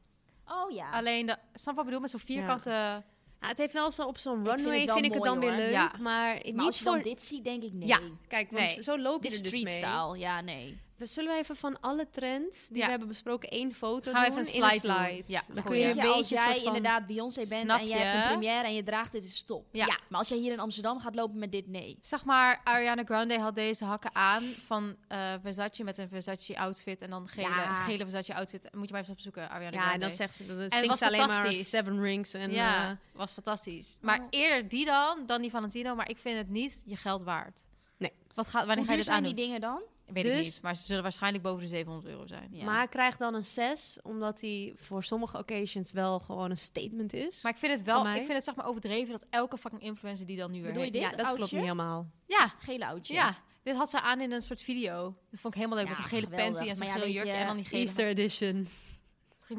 Oh ja. Alleen, de, snap je wat ik bedoel? Met zo'n vierkante... Ja, het heeft wel zo op zo'n vind runway, vind ik het wel het, dan mooi, weer hoor. leuk. Ja. Maar, maar niet als je dan voor... dit ziet, denk ik nee. Ja, kijk, want Nee. zo loop je Dit er is dus mee. street style. Ja, nee. We zullen we even van alle trends die Ja. we hebben besproken één foto Gaan we doen even een in een slide doen. slide. Ja, dan kun goeie. je Weet een je, beetje als soort jij van- inderdaad Beyoncé bent Snap en jij hebt je? een première en je draagt dit, is stop. Ja. Maar als jij hier in Amsterdam gaat lopen met dit, nee. Zeg maar, Ariana Grande had deze hakken aan van eh, Versace met een Versace outfit. En dan gele, Ja. gele Versace outfit. Moet je maar even opzoeken, Ariana Ja, Grande. en dan zegt ze, dan het zingt was ze alleen maar fantastisch. Seven Rings. En, ja, eh, was fantastisch. Maar eerder die dan, dan die Valentino. Maar ik vind het niet je geld waard. Nee. Wat gaat, wanneer Hoe ga duur je dit zijn aan die dingen dan? Weet ik Dus- niet. Maar ze zullen waarschijnlijk boven de 700 euro zijn. Ja. Maar krijgt dan een 6, omdat hij voor sommige occasions wel gewoon een statement is. Maar ik vind het Van wel, mij? ik vind het zeg maar overdreven dat elke fucking influencer die dan nu weer Bedoel je heeft- dit ja, dat klopt oudje? niet helemaal. Ja, Gele oudje. ja. Dit had ze aan in een soort video. Dat vond ik helemaal leuk. Ja, met zo'n gele geweldig. panty en zo'n Maar ja, gele weet jurk je, en dan die gele. Easter edition. Het ging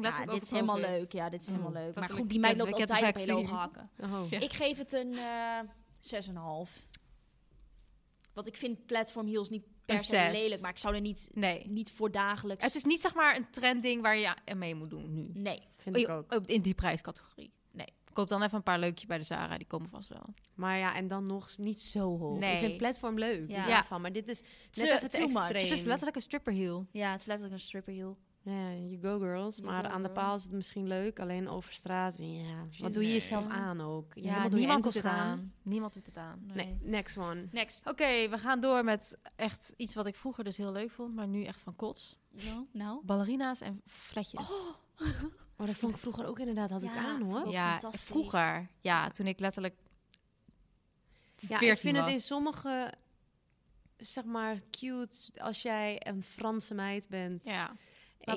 Ja, letterlijk dit is over helemaal COVID. leuk. Ja, dit is helemaal Mm, leuk. Maar letterlijk, goed, die meid ik heb- loopt ik heb het altijd op hele vaak hoge zien. hakken. Oh. Ik geef het een eh 6,5. Want ik vind platform heels niet per Een se zes. lelijk, maar ik zou er niet, Nee. niet voor dagelijks... Het is niet zeg maar een trendding waar je aan mee moet doen nu. Nee. Vind ik Oh, ook. In die prijscategorie. Nee. Koop dan even een paar leukje bij de Zara. Die komen vast wel. Maar ja, en dan nog niet zo hoog. Nee. Ik vind platform leuk. Ja. Ja. Ja. Van, maar dit is net Too- even te too much. extreem. Het is letterlijk een stripper heel. Ja, het is letterlijk een stripper heel. Ja, you go girls. You Maar go, aan de girl. paal is het misschien leuk. Alleen over straat. Ja. Wat doe Nee. je jezelf aan ook? Je Ja, helemaal door je niemand enkels doet het gaan. aan. Niemand doet het aan. Nee, next one. Next. Oké, we gaan door met echt iets wat ik vroeger dus heel leuk vond, maar nu echt van kots. Nou, nou. Ballerina's en fletjes. Maar Oh, dat vond ik vroeger ook inderdaad. Had ik Ja, aan hoor. ook ja, fantastisch. vroeger. Ja, toen ik letterlijk Ja, 14 ik vind was. het in sommige, zeg maar, cute als jij een Franse meid bent. Ja, En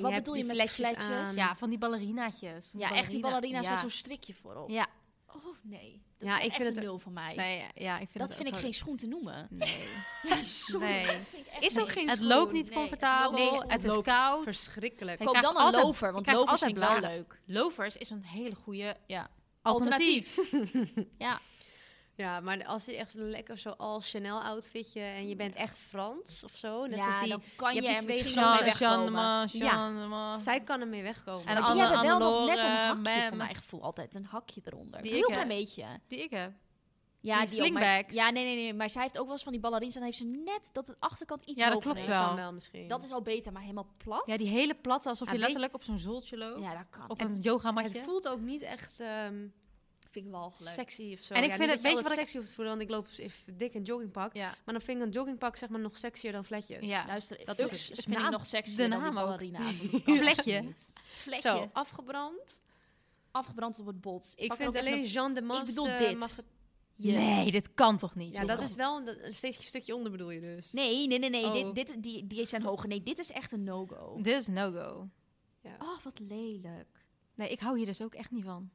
Maar wat bedoel je met fletjes? ja van die ballerinaatjes. Van Ja, echt die ballerina's ja. met zo'n strikje voorop. Ja, Oh, nee. Dat Ja, is ik echt vind een het- nul voor mij. nee, ja, ik vind dat het vind ik ook geen schoen te noemen. wel- Nee. Ja, sorry, Nee. dat vind ik echt Is ook niet. geen Het schoen. loopt niet Nee, het comfortabel, loopt niet. het, Het is loopt koud. Verschrikkelijk. Ik Koop krijg dan een altijd- lover, ik want krijg lovers vind altijd ik wel bladen. leuk. Lovers is een hele goede Ja. alternatief. Ja. Ja, maar als je echt lekker zo al Chanel outfitje en je bent echt Frans of zo. Net ja, zoals die. dan kan je Dus je, hebt die er twee misschien wel mee Jean, wegkomen. Jean, man, Ja. Jean, man. Zij kan ermee En wegkomen. Maar die Anne- hebben wel nog net een Annelore, hakje Mem. voor mijn gevoel. Altijd een hakje eronder. Die Een ik heel heb. klein beetje. Die ik heb. Ja, Die ook, maar, slingbags. ja nee, nee, nee. Maar zij heeft ook wel eens van die ballerines. Dan heeft ze net dat de achterkant iets Ja, dat hoger klopt is. dat wel. kan wel misschien. Dat is al beter, maar helemaal plat. Ja, die hele platte, alsof Ja, je weet- letterlijk op zo'n zooltje loopt. Ja, dat kan. Op En een yogamatje. het voelt ook niet echt ehm, vind ik wel leuk. sexy of zo. En ik Ja, vind het- niet dat weet je alles wat ik- sexy hoeft te voelen, want ik loop in dik een joggingpak. Ja. Maar dan vind ik een joggingpak zeg maar nog sexier dan fletjes. Ja. Luister, Dat dat is Ux het. vind Naam- ik nog sexy de dan die naam ook. ballerina's. Vletje. Vletje. Zo, afgebrand. Afgebrand op het bot. Ik Pak er vind ook even alleen Jean de Mans bedoel eh, dit. mag het- een- je... Nee, dit kan toch niet? Ja, dat is wel een, een steeds een stukje onder bedoel je dus. Nee, nee, nee, nee. Oh. Dit, dit, die, die zijn hoger. Nee, dit is echt een no-go. Dit is no-go. Oh, wat lelijk. Nee, ik hou hier dus ook echt niet van.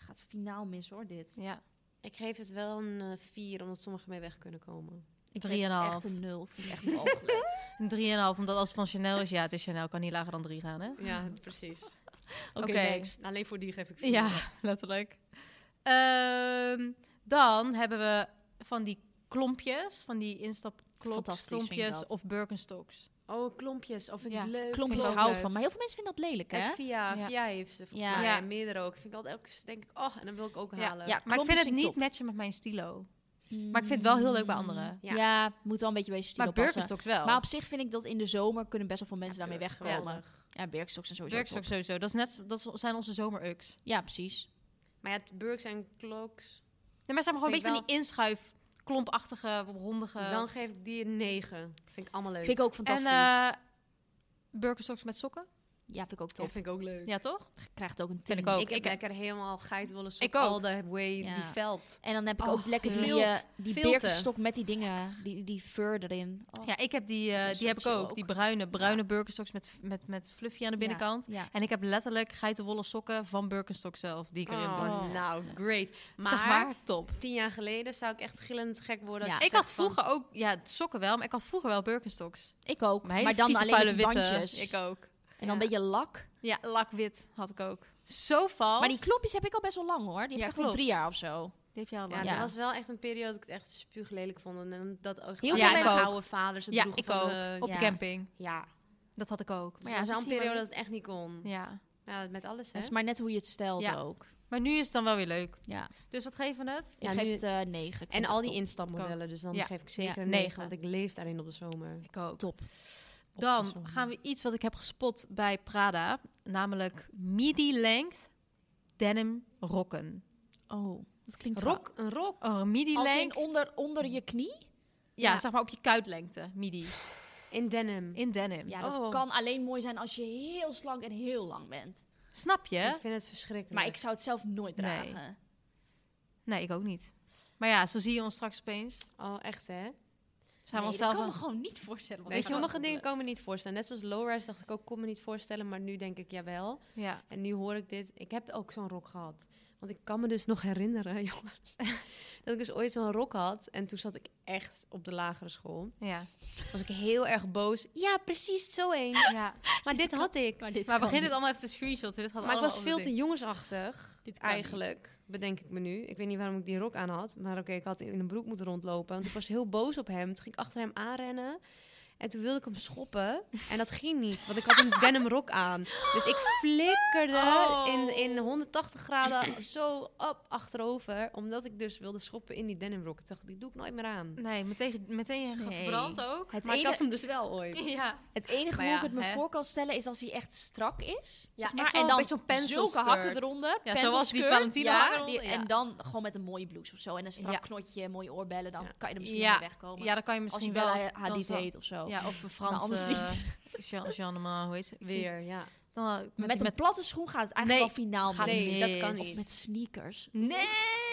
Gaat finaal mis hoor, dit. Ja. Ik geef het wel een eh, vier, omdat sommigen mee weg kunnen komen. Ik Drie geef en het een half. echt een nul. Vind ik echt mogelijk. Een 3,5, omdat als het van Chanel is, ja, het is Chanel, kan niet lager dan 3 gaan, hè? Ja, precies. Oké, Oké. next. Nou, Alleen voor die geef ik vier. Ja, letterlijk. Ehm, dan hebben we van die klompjes, van die instapklops, Fantastisch vind ik klompjes dat. of Birkenstocks. Oh, klompjes. Of vind ik Ja, leuk. Klompjes Vind ik houdt leuk. van. Maar heel veel mensen vinden dat lelijk, hè? Het via, Ja. via heeft ze volgens Ja. mij. Ja. En meerdere ook. Vind ik altijd elke keer denk ik, oh, en dan wil ik ook Ja, halen. ja. Maar ik Klompjes vind het vind ik niet top. matchen met mijn stilo. Maar ik vind het wel heel leuk bij anderen. Mm. Ja, Ja. moet wel een beetje bij je stilo Maar passen. Birkenstocks wel. Maar op zich vind ik dat in de zomer kunnen best wel veel mensen daarmee wegkomen. Ja, Geweldig. Birkenstocks en sowieso. Birkenstocks sowieso. Dat, is net, dat zijn onze zomerux. top. Ja, precies. Maar ja, het Burks en Kloks. Nee, maar ze hebben gewoon een Vind beetje van ik die inschuif, klompachtige, rondige. Dan geef ik die een negen. Vind ik allemaal leuk. Vind ik ook en fantastisch. eh Birkenstocks met sokken. ja, vind ik ook Ja, tof. vind ik ook leuk. Ja, toch? Krijgt ook een 10. Vind ik ook. Ik heb Ik- lekker helemaal geitwolle Ik sokken. ook. All the way Ja. die veld. En dan heb ik ook Oh, lekker die, vilt. eh, die Vilten. Birkenstock met die dingen, die, die fur erin. Oh, Ja, ik heb die, eh, Dat is die heb ik chill ook. ook. Die bruine, bruine Birkenstocks met, met, met fluffy aan de binnenkant. Ja. En ik heb letterlijk geitenwolle sokken van Birkenstock zelf, die ik erin doe. Oh, nou, great. Maar, Maar, zeg maar top. tien jaar geleden zou ik echt gillend gek worden. als ik je had zegt van- vroeger ook, ja, sokken wel, maar ik had vroeger wel Birkenstocks. Ik ook. Mijn hele Maar dan vieze, alleen met vuile die witte. bandjes. Ik ook. En dan een beetje lak. Ja, lakwit had ik ook. Zo vals. Maar die klopjes heb ik al best wel lang hoor. Die heb Ja, ik echt al klopt. drie jaar of zo. Die heb je al Ja, lang. dat Ja. was wel echt een periode dat ik het echt spuuglelijk vond. En dat ook Heel aan veel mijn mensen- oude vaders het Ja, droegen ik van eh, ook. de- Op ja. de camping. Ja. Dat had ik ook. Maar ja, zo'n misschien periode wel- dat het echt niet kon. Ja. Ja, met alles, hè? Dat is maar net hoe je het stelt Ja. ook. Maar nu is het dan wel weer leuk. Ja. Dus wat geven we het? Ik Ja, geef nu- het eh, negen. Ik En vind al het die top. instapmodellen. Dus dan Ja. geef ik zeker Ja, een 9, negen. Want ik leef daarin op de zomer. Ik ook. Top. Dan gaan we iets wat ik heb gespot bij Prada. Namelijk midi-length denim rokken. Oh, dat klinkt Rok? Een rok. Oh, midi-length. Als in onder, onder je knie? Ja, Ja. zeg maar op je kuitlengte, midi. In denim. In denim. Ja, dat Oh. kan alleen mooi zijn als je heel slank en heel lang bent. Snap je? Ik vind het verschrikkelijk. Maar ik zou het zelf nooit Nee. dragen. Nee, ik ook niet. Maar ja, zo zie je ons straks opeens. Oh, echt, hè? Zijn we Nee, dat onszelf kan aan- me gewoon niet voorstellen. want Nee, ik zou sommige dat dingen doen. komen niet voorstellen. Net zoals low-rise dacht ik ook, kon me niet voorstellen. Maar nu denk ik, jawel. Ja. En nu hoor ik dit. Ik heb ook zo'n rok gehad. Want ik kan me dus nog herinneren, jongens. dat ik dus ooit zo'n rok had. En toen zat ik echt op de lagere school. Ja. Toen was ik heel erg boos. Ja, precies zo een. ja. Maar dit had ik. Maar, dit Maar we kan beginnen het niet. allemaal even te screenshotten. Dit gaat Maar ik allemaal was veel over te de jongensachtig. Dit kan Eigenlijk, bedenk ik me nu. Ik weet niet waarom ik die rok aan had. Maar oké, ik had in een broek moeten rondlopen. Want ik was heel boos op hem. Toen ging ik achter hem aanrennen. En toen wilde ik hem schoppen. En dat ging niet. Want ik had een denim rok aan. Dus ik flikkerde Oh. in, in 180 graden zo op achterover. Omdat ik dus wilde schoppen in die denim rok. Ik dacht, die doe ik nooit meer aan. niet. Nee, meteen, meteen Nee. verbrand ook. Het maar ik ene- had hem dus wel ooit. Ja. Het enige Maar hoe ik ja, het me hè. voor kan stellen is als hij echt strak is. Ja, zeg maar, echt zo'n- en dan beetje zo'n pencil zulke hakken skirt. eronder. Ja, pencil zoals die skirt, Valentino ja, hakken eronder, die- ja. En dan gewoon met een mooie blouse of zo. En een strak Ja. knotje, mooie oorbellen. Dan Ja. kan je er misschien Ja. mee wegkomen. ja, dan kan je als je misschien wel wel... dan Hadid zal- heet of zo. Ja, of een Maar Frans. eh, anders niet. Jean, Jean de Man, hoe heet ze? Weer, ja. Dan, eh, met, Met, die- een met platte schoen gaat het eigenlijk Nee, wel finaal gaat mis. Nee, dat kan mis. Of niet. met sneakers.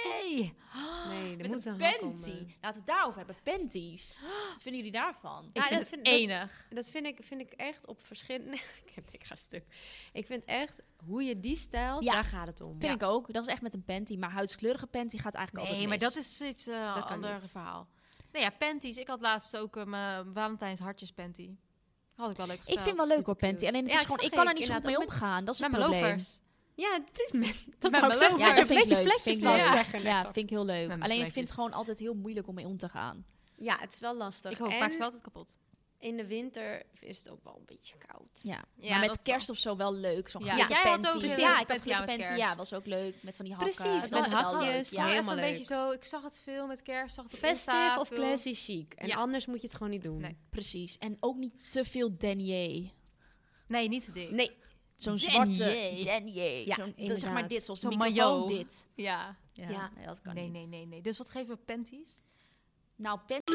Nee! Ah, Nee, er Met moet een een hak om, panty. eh. Laten we het daarover hebben. Panties. Wat vinden jullie daarvan? Ik Ja, vind dat het vind- dat- enig. Dat vind ik, vind ik echt op verschillende... ik, heb- ik ga stuk. Ik vind echt, hoe je die stijlt, Ja. daar gaat het om. Vind ik ook. Dat is echt met een panty. Maar huidskleurige panty gaat eigenlijk Nee, altijd maar mis. dat is iets eh Dat kan ander niet. verhaal. Nou ja, panties. Ik had laatst ook eh, mijn Valentijns hartjes panty. Had ik wel leuk Ik gesteld. vind het wel leuk hoor, supercute. panty. Alleen het Ja, is ik gewoon, zag ik kan er ik niet zo goed mee inderdaad omgaan. Dat is Met het mijn probleem. lovers. Ja, precies. Dat Met wou mijn ik zeggen. Ja, lover. dat vind ik Beetje leuk. vletjes Vind ik wel erin. leuk. zeggen. Ja, vind ik heel leuk. Met mijn Alleen ik vlekjes. vind het gewoon altijd heel moeilijk om mee om te gaan. Ja, het is wel lastig. Ik hoop, en maak ze wel altijd kapot. in de winter is het ook wel een beetje koud. Ja. Ja, maar met dat kerst of zo wel leuk. Zo'n Ja. glitter Jij had panty. ook een ja, ik had glitter glitter panty aan panty. met Ja, kerst. was ook leuk. Met van die hakken. Precies, Dat met was wel hakjes. leuk, Ja. Ja, Helemaal even een leuk. beetje zo. Ik zag het veel met kerst. Zag het op Festive Insta of veel. classy chic. En Ja. anders moet je het gewoon niet doen. Nee. Precies. En ook niet te veel denier. Nee, niet te dik. Nee, Zo'n Denier. zwarte denier. Ja, Zo'n- dat is zeg maar inderdaad. dit, zoals de Zo'n microfoon maillot. dit. Ja. Ja, Ja. nee, dat kan nee, niet. nee, nee, nee. Dus wat geven we panties? Nou, panty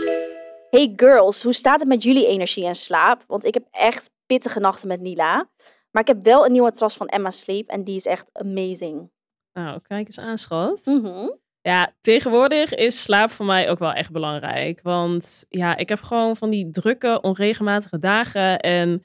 Hey girls, hoe staat het met jullie energie en slaap? Want ik heb echt pittige nachten met Nila. Maar ik heb wel een nieuwe matras van Emma Sleep en die is echt amazing. Nou, kijk eens aan, schat. Mhm. Ja, tegenwoordig is slaap voor mij ook wel echt belangrijk. Want ja, ik heb gewoon van die drukke, onregelmatige dagen. En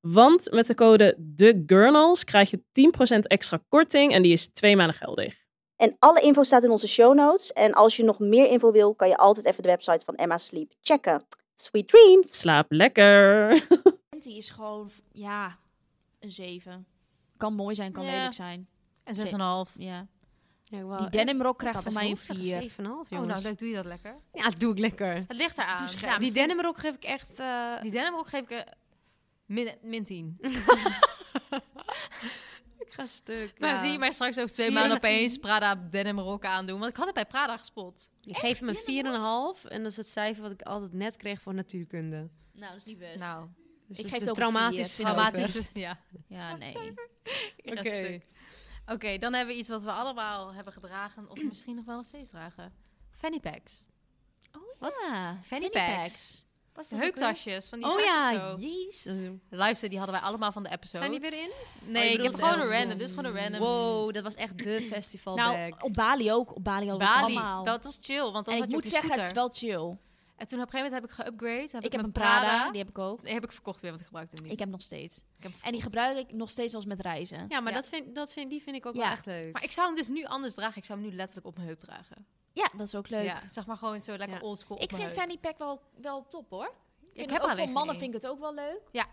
Want met de code TheGurnals krijg je 10% extra korting en die is twee maanden geldig. En alle info staat in onze show notes. En als je nog meer info wil, kan je altijd even de website van Emma Sleep checken. Sweet dreams! Slaap lekker. Die is gewoon, ja, een 7. Kan mooi zijn, kan Ja. lelijk zijn. En 6,5. Ja. Ja, ik wou Die echt- denimrok ik krijgt had van mij best een hoog gezegd, 4. 7,5 jongens. Oh, nou leuk, doe je dat lekker. Ja, dat doe ik lekker. Het ligt eraan. Doe ze Ja, die misschien- denimrok geef ik echt... eh, die denimrok geef ik eh, min, min 10. ik ga stuk. Maar ja. zie je mij straks over twee Vier maanden en tien. opeens Prada denimrokken aandoen. Want ik had het bij Prada gespot. Ik geef hem een 4,5. En dat is het cijfer wat ik altijd net kreeg voor natuurkunde. Nou, dat is niet best. Nou, Dus Ik dat geef is het ook een traumatisch. vier. traumatisch. traumatisch. Ja. ja, nee. Oké. Oké, dan hebben we iets wat we allemaal hebben gedragen. Of misschien nog wel nog steeds dragen. Fanny packs. Wat? Ja, Fanny packs. Was dat ook Heuptasjes. Van die Oh tassen ja, zo. jezus. Luister, die hadden wij allemaal van de episode. Zijn die weer in? Nee, ik bedoelt heb gewoon een Elsbom. random. Dit is gewoon een random. Wow, dat was echt de festival weer? Nou, op Bali ook. Op Bali hadden we het allemaal. Bali, dat was chill. Want dan en ik had je op moet die zeggen, scooter. het is wel chill. En toen op een gegeven moment heb ik geüpgrade. Heb Ik heb mijn een Prada, die heb ik ook. Die heb ik verkocht weer, want ik gebruikte hem niet. Ik heb nog steeds. Ik heb hem En die verkocht. gebruik ik nog steeds wel eens met reizen. Ja, maar Ja. Dat vind, dat vind, die vind ik ook Ja. wel echt leuk. Maar ik zou hem dus nu anders dragen. Ik zou hem nu letterlijk op mijn heup dragen. Ja, dat is ook leuk. Ja, zeg maar gewoon zo lekker Ja. oldschool op Ik mijn vind heup. fanny pack wel, wel top hoor. Ik vind heb het er ook voor alleen mannen geen vind ik het ook wel leuk. Ja.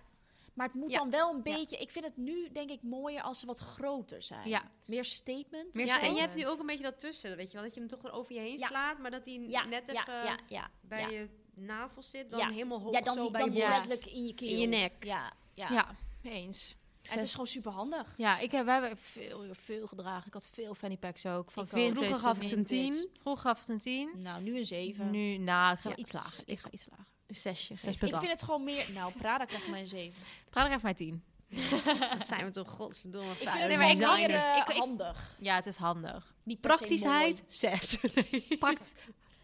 Maar het moet Ja. dan wel een Ja. beetje... Ik vind het nu denk ik mooier als ze wat groter zijn. Ja. Meer statement. Meer ja, en statement. je hebt nu ook een beetje dat tussen, weet je wel. Dat je hem toch weer over je heen Ja. slaat, maar dat hij Ja, net ja, even ja, ja, bij ja. je navel zit. Dan Ja. helemaal hoog Ja, dan, zo die- bij dan je borst. letterlijk in je keel. In je nek. Ja, ja. Ja, eens. En het is gewoon super handig. Ja, ik heb, we hebben veel, veel gedragen. Ik had veel fanny packs ook. Van Ik ook. vintage Vroeger tot gaf ik het een vintage. 10. Vroeger gaf ik het een 10. Nou, nu een 7. Nu, nou, ik ga Ja. iets lager. Ik ga iets lager. Een zesje. ik vind 6,8. het gewoon meer... Nou, Prada krijgt mij een 7. Praat er even mijn 10. Dan zijn we toch godverdomme Ik vind fijn. het nee, maar ik gewoon had- meer eh, ik- ik- handig. Ja, het is handig. Niet per se Praktischheid, mooi. zes. Prakt,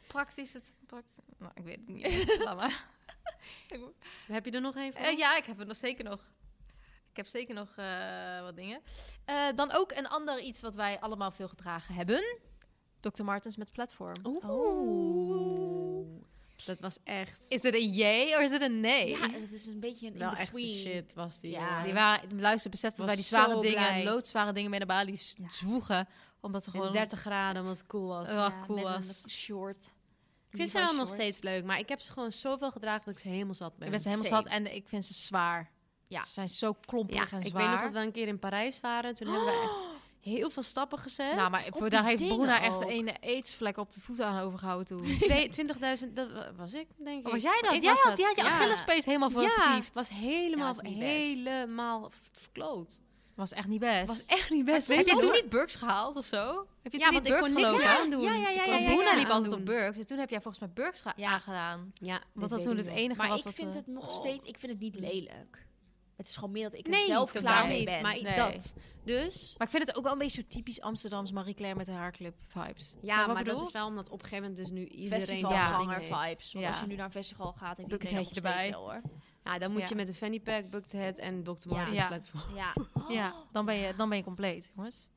praktisch. Het, prakt, nou, ik weet het niet. Laat maar. Heb je er nog even? Eh, ja, ik heb het nog zeker nog. Ik heb zeker nog eh, wat dingen. Eh, dan ook een ander iets wat wij allemaal veel gedragen hebben. Dr. Martens met platform. Oeh. Dat was echt... Is het een jee of is het een nee? Ja, het is een beetje een Wel echt de in-between. shit was die. Ja. Die jongen. waren, luister, besef dat Was wij die zware zo dingen, blij. loodzware dingen mee naar Bali s- zwoegen. Omdat we En gewoon... 30 graden, omdat het cool was. Oh, Ja, cool met was. een short. Ik vind ze wel nog steeds leuk, maar ik heb ze gewoon zoveel gedragen dat ik ze helemaal zat ben. Ik ben ze helemaal Same. zat en ik vind ze zwaar. Ja. Ze zijn zo klompig Ja, en ik zwaar. Oh! weet nog dat we een keer in Parijs waren. Toen hebben we echt heel veel stappen gezet. Nou, maar op voor, die daar heeft dingen Bruna echt ook. een aidsvlek op de voet aan overgehouden toen. Twee- 20.000, dat wa- was ik, denk ik. Oh, was jij dat? Ik Jij was had, dat, jij had je ja. Achillespees helemaal ver- Ja, vertiefd. het was helemaal, Ja, was niet best. helemaal v- verkloot. Was echt niet best. Het was echt niet best. Heb je jij nog? toen niet Burks gehaald of zo? Heb je Ja, toen niet want ik Burks kon niks gelopen? aan doen. Ja, ja, ja, ja, Want ja, Bruna ja. liep altijd op Aandoen. Burks. En toen heb jij volgens mij Burks ge- Ja. aangedaan. Ja, Want dat weet toen ik het niet. enige Maar was ik wat eh, vind we- het nog steeds... Ik vind het niet lelijk. Het is gewoon meer dat ik er Nee, zelf totaal klaar mee niet. ben. Maar Nee. dat. Dus... Maar ik vind het ook wel een beetje zo typisch Amsterdams Marie Claire met haar club vibes. Ja, maar bedoel? dat is wel omdat op een gegeven moment dus nu iedereen dat ding Festivalganger heeft. vibes. Want Ja. als je nu naar een festival gaat, heb je Bucket het nog hatje steeds erbij. wel hoor. Ja, dan moet Ja. je met een fanny pack, buckethead en Dr. Martens Ja. platform. Ja. Ja, dan ben, je, dan ben je compleet, jongens.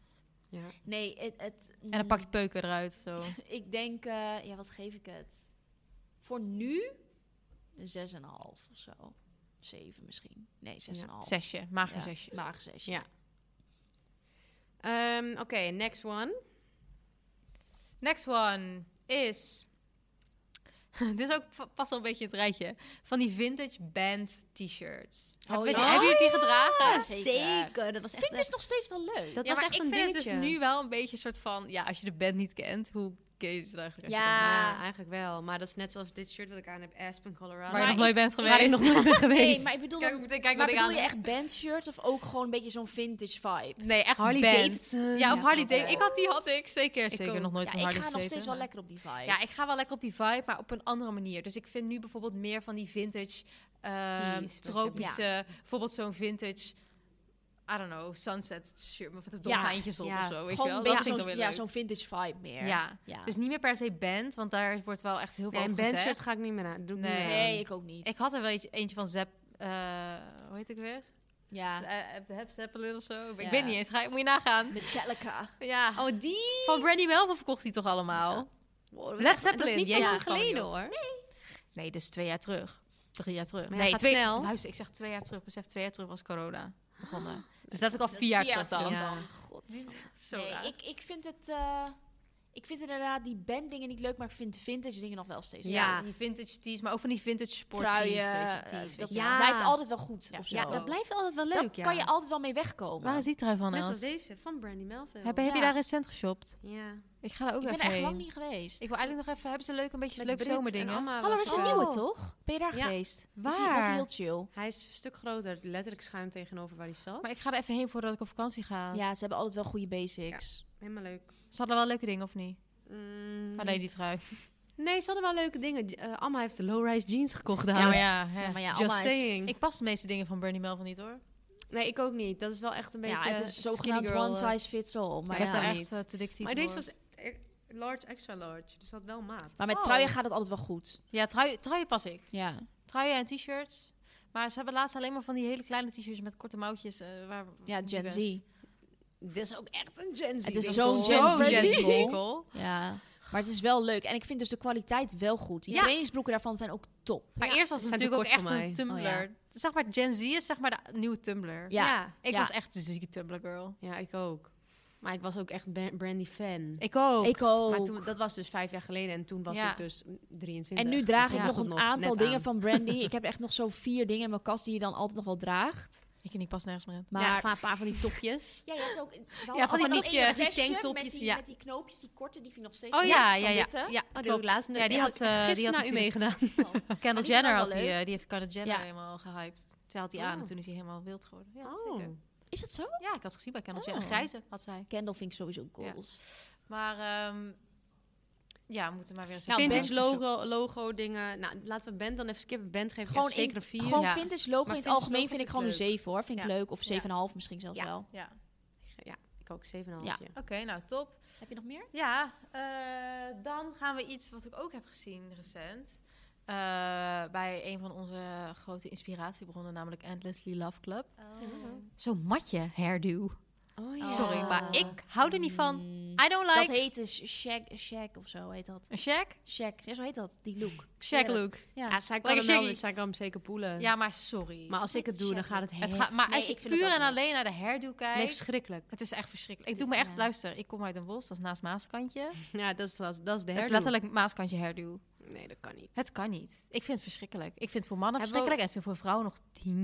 Ja. Nee, het... het En dan pak je peuken eruit. Zo. Ik denk... eh, ja, wat geef ik het? Voor nu... Een 6,5 of zo. 7 misschien. Nee, 6,5. Zesje, mager Ja, zesje. mager zesje. Ja. Ehm, Oké, next one. Next one is... Dit is ook va- vast wel een beetje het rijtje. Van die vintage band t-shirts. Heb- weet je- Oh, ja. Hebben jullie die gedragen? zeker. Dat was Vind ik dus nog steeds wel leuk. Dat ja, was maar echt ik een vind dingetje. het dus nu wel een beetje een soort van... Ja, als je de band niet kent, hoe keuzes eigenlijk. Ja. Ja, eigenlijk wel. Maar dat is net zoals dit shirt wat ik aan heb, Aspen, Colorado. Waar je Maar nog nooit bent geweest. waar ik nog nooit ben geweest. Nee, maar ik bedoel, Kijk, dan- ik moet- kijk maar wat ik bedoel aan je heb. echt bandshirts of ook gewoon een beetje zo'n vintage vibe? Nee, echt Harley band. Davidson. Ja, of Ja, Harley wel. Davidson. Ik had die had ik zeker. Ik zeker ook. nog nooit Ja, van ik Harley ga nog steeds gezeten, wel maar- lekker op die vibe. Ja, ik ga wel lekker op die vibe, maar op een andere manier. Dus ik vind nu bijvoorbeeld meer van die vintage, ehm, Die special- tropische, bijvoorbeeld zo'n vintage, I don't know, sunset shirt met de Ja, dolfijntjes erop ja. of zo, weet je gewoon wel. een Dat beetje vind ik dan zo'n weer ja, leuk. zo'n vintage vibe meer. Ja. Ja. Dus niet meer per se band, want daar wordt wel echt heel veel Nee, een over gezegd. bandshirt ga ik niet meer aan. Doe ik Nee. niet meer aan. nee, ik ook niet. ehm, Ik had er wel eentje, eentje van Zep, eh, hoe heet ik weer? ja. Eh, eh, Heb Zeppelin of zo. Ik Ja. weet niet eens, ga, moet je nagaan. Metallica. Ja. Oh, die? Van Brandy Melville verkocht die toch allemaal? Wow, dat is Led echt- Zeppelin. Dat is niet zo Jezus, lang kan die geleden ook. hoor. Nee, dus twee jaar terug. Drie jaar terug. Maar ja, nee, gaat twee, snel. Luister, ik zeg twee jaar terug. Besef, twee jaar terug was corona begonnen. Dus dat ik al vier jaar terug dan. Ja. Zo raar. Oh, Nee, ik, ik vind het... eh, ik vind inderdaad die banddingen niet leuk, maar ik vind vintage dingen nog wel steeds leuk. Ja. Die vintage tees, maar ook van die vintage sporttees. Truien, weet je, eh, tees, dat weet je Ja. blijft altijd wel goed. Ja, of zo. ja, dat blijft altijd wel Daar leuk, ja. kan je altijd wel mee wegkomen. wel. Waar is die trui van, Net Els? als deze, van Brandy Melville. Heb, heb je Ja. daar recent geshopt? Ja. Ik ga er ook ik ben even er echt heen. lang niet geweest. Ik wil eigenlijk nog even... Hebben ze leuk een beetje Met leuke Brit en zomerdingen? Amma Hallo, er was is er een ook. nieuwe, toch? Ben je daar Ja. geweest? Was hij, Waar? was hij heel chill? Hij is een stuk groter, letterlijk schuin tegenover waar hij zat. Maar ik ga er even heen voordat ik op vakantie ga. Ja, ze hebben altijd wel goede basics. Helemaal leuk. Ze hadden wel leuke dingen, of niet? Mm. Alleen die trui. Nee, ze hadden wel leuke dingen. Eh, Amma heeft de low-rise jeans gekocht daar. Ja, maar ja. hè. Ja, maar ja, Just allemaal is- saying. Ik pas de meeste dingen van Bernie Melville niet, hoor. Nee, ik ook niet. Dat is wel echt een beetje... Ja, het is skinny zogenaamd girl, one eh. size fits all. Maar, Maar ja. ik heb dat daar niet. echt eh, te dik Maar tieten deze voor. was eh, large, extra large. Dus dat wel maat. maar met Oh. truien gaat het altijd wel goed. Ja, trui, truien pas ik. Ja. Truien en t-shirts. Maar ze hebben laatst alleen maar van die hele kleine t-shirts met korte mouwtjes. eh, waar, Ja, Gen best. Z. Dit is ook echt een Gen Z. Het is Dat zo'n zo Gen Z. trendy. Gen Z. Oh, winkel. Ja. Maar het is wel leuk. En ik vind dus de kwaliteit wel goed. Die Ja. trainingsbroeken daarvan zijn ook top. Maar Ja, eerst was het zijn te natuurlijk ook echt kort voor een mij. Tumblr. Zeg maar, Gen Z is zeg maar de nieuwe Tumblr. Ja. Ik Ja. was echt een zieke Tumblr girl. Ja, ik ook. Maar ik was ook echt Ban- Brandy fan. Ik ook. Ik ook. Maar toen, dat was dus vijf jaar geleden en toen was Ja. ik dus 23. en nu draag Dus ik dat nog kon een aantal net dingen aan. van Brandy. ik heb echt nog zo vier dingen in mijn kast die je dan altijd nog wel draagt. ik en ik pas nergens meer in. Maar Ja, van een paar van die topjes. Ja, je hebt ook Ja, van die topjes. die Die tanktopjes, Met die, ja. met die knoopjes, die korte, die vind ik nog steeds Oh leuk. ja, Zo'n ja, ja. witte. ja, Oh, die klopt. ook laatst. ja, die had, eh, die had gisteren naar u natuurlijk- meegedaan. Kendall Oh, Die waren Jenner wel had die, leuk. eh, die heeft Kendall Jenner Ja. Oh. helemaal gehyped. Zij had die aan en toen is hij helemaal wild geworden. Ja, Oh. zeker. Is dat zo? ja ik had gezien bij Kendall Jenner. Oh. Grijze had zij. Kendall vind ik sowieso goals. Maar ehm, ja, we moeten maar weer eens Nou, even- Vintage logo, logo dingen. Nou, laten we Band dan even skippen. Band geeft Gewoon echt in- zeker een vier. Gewoon Ja. vintage logo in Maar het vintage algemeen logo vind ik vind gewoon ik een 7 hoor. Vind ik Ja. leuk. Of 7,5 misschien zelfs Ja. wel. Ja, Ja, ik ook 7,5. Ja. Ja. oké, nou top. Heb je nog meer? Ja, eh, dan gaan we iets wat ik ook heb gezien recent. eh, bij een van onze grote inspiratiebronnen, namelijk Endlessly Love Club. Oh. Zo'n matje hairdo. Oh ja. Sorry, maar ik hou er niet van. I don't Mm. Dat like... heet dus shag, shag of zo heet dat. Een shack? Shag, ja, zo heet dat, die look. Shack Ja, dat- look. Ja. Ja, zij kan, Lekker hem wel, shaggy. dus- zij kan hem zeker poelen. Ja, maar sorry. Maar als ik het doe, dan gaat het het helemaal... gaat, maar Nee, als je ik vind het puur ook en niks. alleen naar de hairdo kijkt... Nee, verschrikkelijk. Het is echt verschrikkelijk. Ik doe me echt... Luister, ik kom uit een bos, dat is naast Maaskantje. Ja, dat is, dat is, dat is de Dat is hairdo. letterlijk Maaskantje hairdo. Dus Nee, dat kan niet. Het kan niet. Ik vind het verschrikkelijk. Ik vind het voor mannen Hebben we verschrikkelijk en ik vind het voor vrouwen nog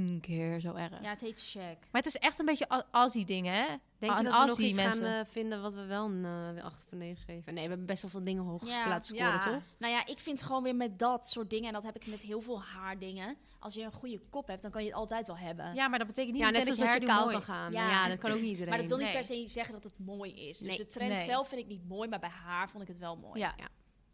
tien keer zo erg. ja, het heet shag. Maar het is echt een beetje a- Aussie ding, hè? Denk je Een dat we nog Aussie iets mensen. gaan eh, vinden wat we wel een eh, 8 van 9 geven? Nee, we hebben best wel veel dingen hoog Ja. laten scoren, Ja. toch? Nou ja, ik vind gewoon weer met dat soort dingen, en dat heb ik met heel veel haardingen. Als je een goede kop hebt, dan kan je het altijd wel hebben. Ja, maar dat betekent niet Ja, net meteen zoals dat dat je je hairdo kaal mooi. kan gaan. Ja. Ja. dat kan ook niet iedereen. maar dat wil niet nee. per se zeggen dat het mooi is. Dus Nee, de trend nee. zelf vind ik niet mooi, maar bij haar vond ik het wel mooi. Ja.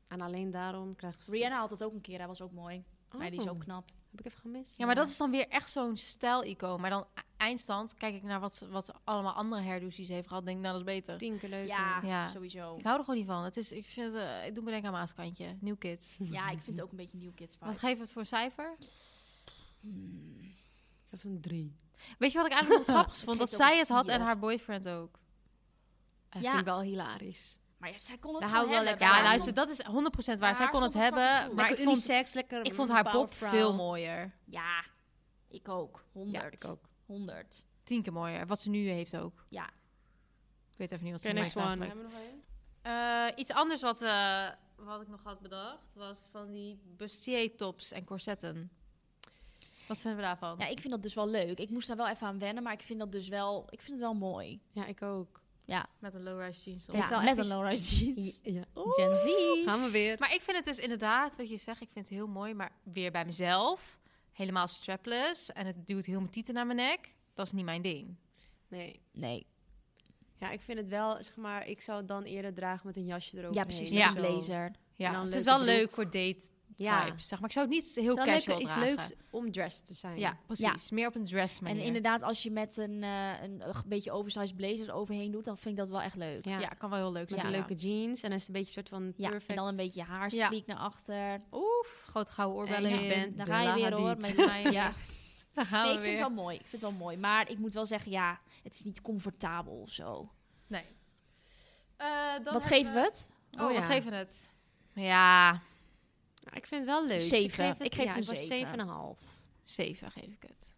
En alleen daarom krijgt ze... Rihanna had dat ook een keer, hij was ook mooi. Maar die is Oh. ook knap. Heb ik even gemist? ja, maar dat is dan weer echt zo'n stijl-icoon. Maar dan e- eindstand kijk ik naar wat, ze- wat ze allemaal andere hairdo's die ze heeft gehad. denk ik, nou, dat is beter. tien keer leuk. Ja, Ja. sowieso. Ik hou er gewoon niet van. Het is, ik, vind, het, eh, ik doe me denken aan Maaskantje. New Kids. Ja, ik vind het ook een beetje New Kids Wat vibe. geven we het voor cijfer? Even een drie. Weet je wat ik eigenlijk nog grappig vond? geef Dat het ook zij een het had vier. en haar boyfriend ook. Dat Ja. vind ik wel hilarisch. Maar ja, zij kon het Daar gewoon hou ik wel hebben. lekker Ja, haar luister, dat is 100% waar. haar Zij kon het stond het fucking hebben, goed. maar ik vond, unisex, lekker... ik vond haar pop powervrouw. veel mooier. Ja, ik ook. 100. Ja, ik ook. 100. Tien keer mooier. Wat ze nu heeft ook. Ja. Ik weet even niet wat ze Oké, maakt next one. eigenlijk. Eh, iets anders wat, we, wat ik nog had bedacht was van die bustier-tops en corsetten. Wat vinden we daarvan? Ja, ik vind dat dus wel leuk. Ik moest daar wel even aan wennen, maar ik vind dat dus wel... Ik vind het wel mooi. Ja, ik ook. Met een low-rise jeans. Ja, dan. Ja, wel met even een iets- low-rise jeans. Ja. Oh, Gen Z. Gaan we weer. Maar ik vind het dus inderdaad, wat je zegt, ik vind het heel mooi, maar weer bij mezelf. Helemaal strapless en het duwt heel mijn tieten naar mijn nek. Dat is niet mijn ding. Nee. Nee. Ja, ik vind het wel, zeg maar, ik zou het dan eerder dragen met een jasje erover. Ja, precies. met Met een een blazer. En Ja, dan het is leuke wel broek. leuk voor date Ja. vibes, zeg maar. Ik zou het niet Het heel is wel casual lekker, iets dragen. leuks om dressed te zijn. Ja, precies. Meer op een dress En manier. inderdaad, als je met een, eh, een eh, beetje oversized blazer overheen doet, dan vind ik dat wel echt leuk. Ja. ja, kan wel heel leuk Met zijn. een ja. leuke jeans. En dan is het een beetje een soort van Ja, perfect. en dan een beetje je haar Ja. sleek naar achter. Oef, groot gouden oorbellen En in. je bent- Daar De ga je La weer hoor. Hadid. met- ja. Daar gaan Nee, we ik vind weer. het wel mooi. Ik vind het wel mooi. Maar ik moet wel zeggen, ja, het is niet comfortabel of zo. Nee. Eh, dan Wat hebben geven we het? Oh, Oh, wat ja. geven we het? Ja, Ja, ik vind het wel leuk. Zeven. Ik geef het, Ik geef ja, het een was zeven. 7,5. 7 geef ik het.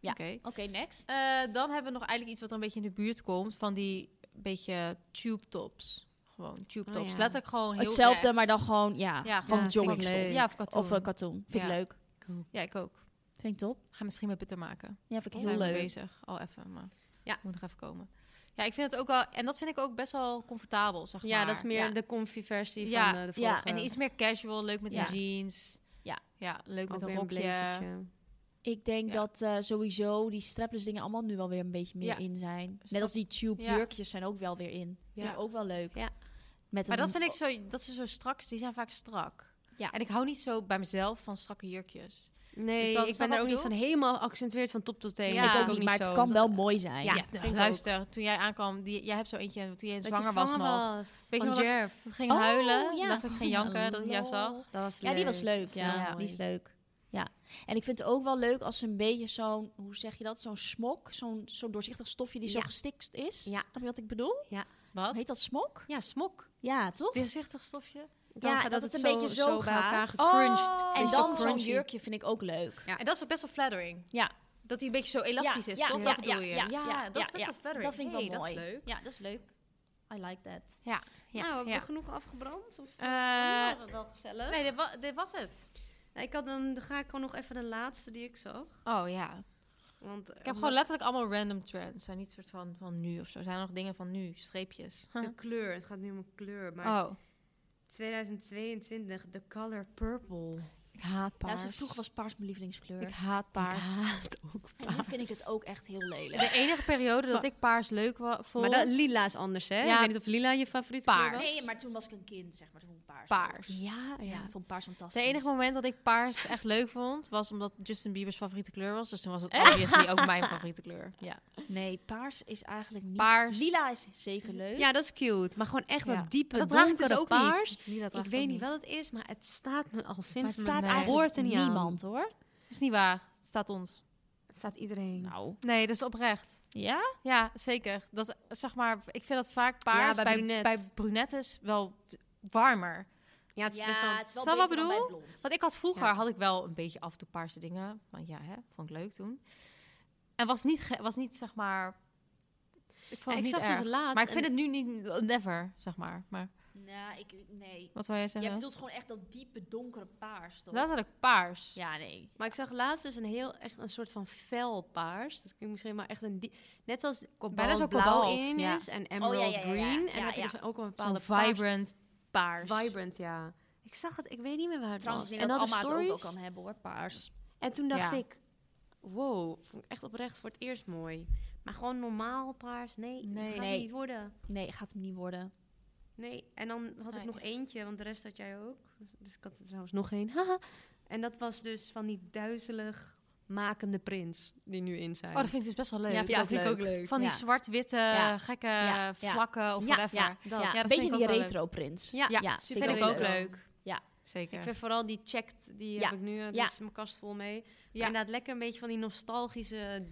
Ja. Oké. Oké, next. Eh, dan hebben we nog eigenlijk iets wat een beetje in de buurt komt van die beetje tube tops. Gewoon tube Oh, tops. ja. Letterlijk gewoon heel Hetzelfde, recht. maar dan gewoon, ja, ja, van gewoon ja, vind ik joggingstof. leuk. Ja, of katoen. Of eh, katoen. Vind ik Ja. leuk. ja, ik ook. Vind ik top. Ga misschien met bitter maken. Ja, vind ik Daar heel zijn we leuk. mee bezig. Al even, maar ja, moet nog even komen. Ja, ik vind het ook wel en dat vind ik ook best wel comfortabel, zeg maar. Ja, dat is meer ja. de comfy versie Ja, van eh, de vorige. ja, en iets meer casual, leuk met Ja. een jeans. Ja. Ja, leuk met Ook een weer rokje. blazertje. Ik denk Ja. dat eh, sowieso die strapless dingen allemaal nu wel weer een beetje meer Ja. in zijn. Dus Net dat- als die tube ja. jurkjes zijn ook wel weer in. Ja. Ja. Vind ik ook wel leuk. Ja. Met Maar een- dat vind ik zo, dat ze zo strak, die zijn vaak strak. Ja. En ik hou niet zo bij mezelf van strakke jurkjes. Nee, Dus dat is ik dan ben er wat ook niet ik van helemaal geaccentueerd van top tot teen. Ja, ik ik ook niet, maar het zo. kan wel mooi zijn. Ja, vind ik luister, toen jij aankwam, die, jij hebt zo eentje en toen jij Dat je zwanger, was nog. Weet je nog dat ik Dat ging Oh, huilen, ja. dat ik ging janken, dat ik jou Hallo. zag. was Ja, die was leuk. Ja, Ja, Ja, die is leuk. Ja, en ik vind het ook wel leuk als ze een beetje zo'n, hoe zeg je dat, zo'n smok, zo'n zo'n doorzichtig stofje die zo Ja. gestikt is. Ja. Snap je wat ik bedoel? Wat? Heet dat smok? Ja, smok. Ja, toch? Doorzichtig stofje. Dan Ja, gaat dat het een zo- beetje zo bij gaat. elkaar gecrunched. Oh, En Is dan zo zo'n crunchy. jurkje vind ik ook leuk. En dat is ook best wel flattering. Ja. Dat hij een beetje zo elastisch Ja, is, ja, toch? ja, dat bedoel ja, je? ja, ja, dat ja, is best ja. wel flattering. Dat vind ik wel Hey, mooi. Dat is leuk. Ja, dat is leuk. I like that. Ja, nou, hebben ja. we genoeg afgebrand? Of Eh, waren we wel gezellig? nee, dit, wa- dit was het. Nou, ik had dan, dan ga ik gewoon nog even de laatste die ik zag. Oh ja. Want, Ik heb gewoon letterlijk allemaal random trends. Zijn niet soort van, van nu of zo. Zijn er nog dingen van nu? Streepjes. de kleur. Het gaat nu om een kleur. Maar Oh. 2022, de color purple. Ik haat Ja, paars. ze vroeger was paars mijn lievelingskleur. Ik haat paars. en nu vind ik het ook echt heel lelijk. De enige periode dat ik paars leuk wa- vond... Maar dat, lila is anders, hè? Ja. Ik weet niet of lila je favoriete Paars. kleur was. Nee, maar toen was ik een kind, zeg maar. Toen vond ik paars. Paars. Ja, ja. ja. ik vond paars fantastisch. Het enige moment dat ik paars echt leuk vond, was omdat Justin Bieber's favoriete kleur was. Dus toen was het obviously ook mijn favoriete kleur. Ja. Nee, paars is eigenlijk niet... Paars. Lila is zeker leuk. Ja, dat is cute. Maar gewoon echt Ja. dat diepe, Dat draag ik donkere dus ook paars. niet. Nee, dat draag Ik weet niet ook wat het is, maar het staat me al maar sinds het mijn staat nee. eigenlijk geboorte niet aan. niemand, hoor. Is niet waar. Het staat ons. Het staat iedereen. Nou. Nee, dat is oprecht. Ja? Ja, zeker. Dat is, zeg maar, ik vind dat vaak paars bij bij, brunet. bij brunettes wel warmer. Ja, het is best wel... het is wel Snap wat beter dan dus ik bij blond. Want ik had vroeger Ja. had ik wel een beetje af en toe paarse dingen. Want ja, hè, vond ik leuk toen. En was niet, ge- was niet zeg maar. Ik Ja, vond het ik niet zag erg. dus laatst... maar ik vind een- het nu niet never, zeg maar. Maar Nou, ik... Nee. wat wil jij Jij zeggen? bedoelt gewoon echt dat diepe, donkere paars, toch? Letterlijk paars. Ja, nee. Maar ik zag laatst dus een heel, echt een soort van fel paars. Dat klinkt misschien maar echt een... die- Net zoals Bijna zo kobalt blauw kobalt, in ja. is en emerald ja, ja, ja. green. En Ja, dan heb je ja. dus ook een bepaalde Zo'n paars- vibrant paars. Vibrant, ja. Ik zag het, ik weet niet meer waar het Trouwens, ik was. denk dat dan Alma de het ook wel stories. kan hebben, hoor. Paars. En toen dacht Ja. ik, wow, vond ik echt oprecht voor het eerst mooi. Maar gewoon normaal paars, nee, Nee. dat gaat Nee. het niet worden. Nee, gaat hem niet worden. Nee, en dan had Nee. ik nog eentje, want de rest had jij ook. Dus ik had er trouwens nog één. Haha. en dat was dus van die duizelig makende prins die nu in zijn. Oh, dat vind ik dus best wel leuk. Ja, vind ik ook leuk. Van die Ja. zwart-witte, Ja. gekke Ja. vlakken of whatever. ja, dat, Ja, dat een vind beetje ik ook die wel leuk. retro-prins. Ja, ja, Vind, ik ook leuk. Ja. Ik Zeker. vind vooral die checked, die Ja. heb ik nu, eh, Ja. dus mijn kast vol mee. Ja. Ja. Inderdaad, lekker een beetje van die nostalgische...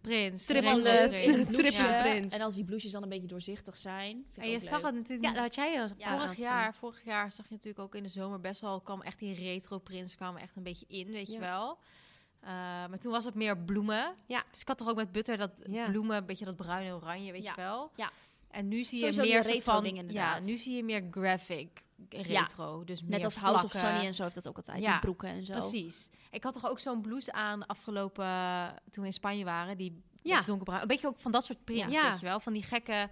Prins. Trippelde- Rainbow Prins. Trippelde Ja. Triple prins. En als die blouses dan een beetje doorzichtig zijn, vind ik En je ook zag leuk. het natuurlijk Ja, niet dat had jij al Ja, vorig, jaar, vorig jaar zag je natuurlijk ook in de zomer best wel... kwam echt die retro-prints kwamen echt een beetje in, weet je Ja. wel. Eh, maar toen was het meer bloemen. Ja. Dus ik had toch ook met butter dat Ja. bloemen, een beetje dat bruine oranje, weet Ja. je wel. Ja. En nu zie Sowieso je die meer soort retro van, dingen Ja, inderdaad. nu zie je meer graphic retro. Dus meer Net als House of vlakken. Sunny en zo heeft dat ook altijd. Ja, die broeken en zo. Precies. Ik had toch ook zo'n blouse aan afgelopen, toen we in Spanje waren, die Ja. Ja. Met donkerbruin. Een beetje ook van dat soort prints, Ja. weet je wel. Van die gekke...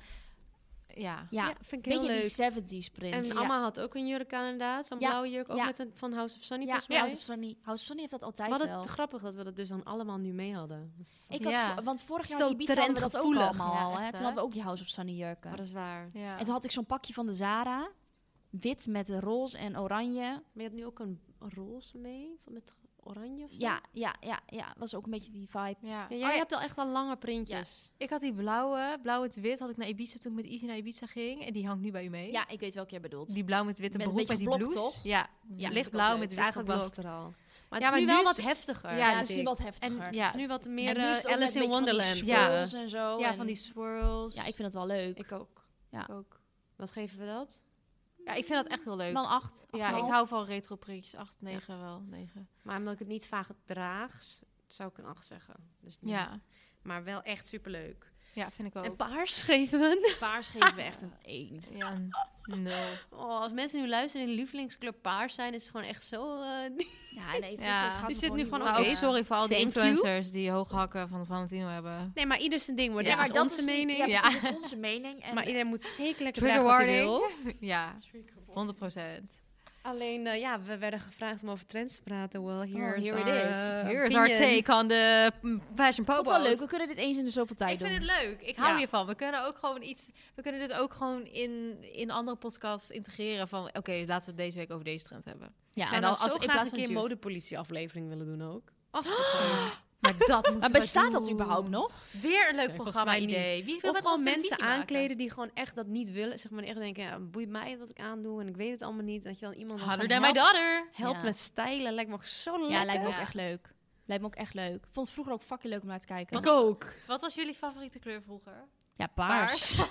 Ja. Ja, vind ik heel beetje leuk. die 70s En prins. Amma had ook een jurk aan inderdaad. Zo'n Ja, blauwe jurk, ook ja. met een, van House of Sunny ja, volgens mij. House of Sunny. House of Sunny heeft dat altijd Wat wel. het grappig dat we dat dus dan allemaal nu mee hadden. Ik had, Ja. v- Want vorig jaar Zo had Ibiza hadden we dat ook trendgevoelig. allemaal. Ja, al, echt, hè? hè? Toen hadden we ook die House of Sunny jurken. Maar dat is waar. Ja. En toen had ik zo'n pakje van de Zara. Wit met roze en oranje. Maar je had nu ook een roze mee, van met oranje of zo? Ja, ja, ja, ja. Was ook een beetje die vibe. Ja. Ja, Oh jij ja, hebt al echt al lange printjes. Ik had die blauwe, blauw met wit, had ik naar Ibiza toen ik met Izzy naar Ibiza ging. En die hangt nu bij u mee. Ja, ik weet welke jij bedoelt. Die blauw met wit en Met een broek met beetje die geblokt, blouse. toch? Ja, Ja, lichtblauw met Het is wit dus eigenlijk was geblokt. het er al. Maar het Ja, is maar nu dus- nu wel is- wat heftiger. Ja, Ja, vind het is ik. nu wat En heftiger. ja, het is nu wat meer En nu is eh, het ook met Alice een in beetje van die Wonderland. swirls en zo. ja, en- van die swirls. Ja, ik vind het wel leuk. Ik ook. Ja. Ik ook. Wat geven we dat? Ja, ik vind dat echt heel leuk. Dan acht. ja, ik hou van retro printjes. 8, 9 wel. 9. Maar omdat ik het niet vaak draag, s- zou ik een 8 zeggen. Dus nee. Ja. Maar wel echt superleuk. ja, vind ik ook. En paars geven we. Paars geven we echt een 1. ja, een nul. Oh, als mensen nu luisteren en hun lievelingskleur paars zijn, is het gewoon echt zo... eh, Ja, nee, het is, Ja. het gaat Die me zit nu niet gewoon worden. Maar ook Oké. sorry voor al die Thank influencers die hoge hakken van Valentino hebben. nee, maar ieder zijn ding. Maar Ja, dit maar is dat onze is niet- mening. Ja, Ja. precies, dat is onze mening. En Maar iedereen moet zeker lekker Trigger dragen wat hij warning. wil. Ja, 100 procent. Alleen, eh, ja, we werden gevraagd om over trends te praten. Well, Oh, here is here it our, is. eh, Oh, Here is our opinion. take on the mm, fashion ik popo. vond het wel leuk. We kunnen dit eens in de zoveel tijd Ik vind doen. het leuk. Ik hou Ja. hiervan. We kunnen ook gewoon iets. We kunnen dit ook gewoon in, in andere podcasts integreren. Van oké, laten we het deze week over deze trend hebben. ja. En zijn dan als- als in ik plaats graag een van keer juice. modepolitie aflevering willen doen ook. Ah, Maar dat moet. Maar bestaat dat überhaupt nog? Weer een leuk volgens programma mij niet. idee. Wie wil met Of gewoon ons mensen televisie maken? aankleden die gewoon echt dat niet willen. Zeg maar echt denken, ja, boeit mij wat ik aandoe en ik weet het allemaal niet. Dat je dan iemand dan Harder than gewoon my helpt- daughter. helpt Ja. met stijlen. Lijkt me ook zo leuk. Ja, lijkt me ook Ja. echt leuk. Lijkt me ook echt leuk. Ik vond het vroeger ook fucking leuk om naar te kijken. Wat was- Wat was jullie favoriete kleur vroeger? Ja, paars.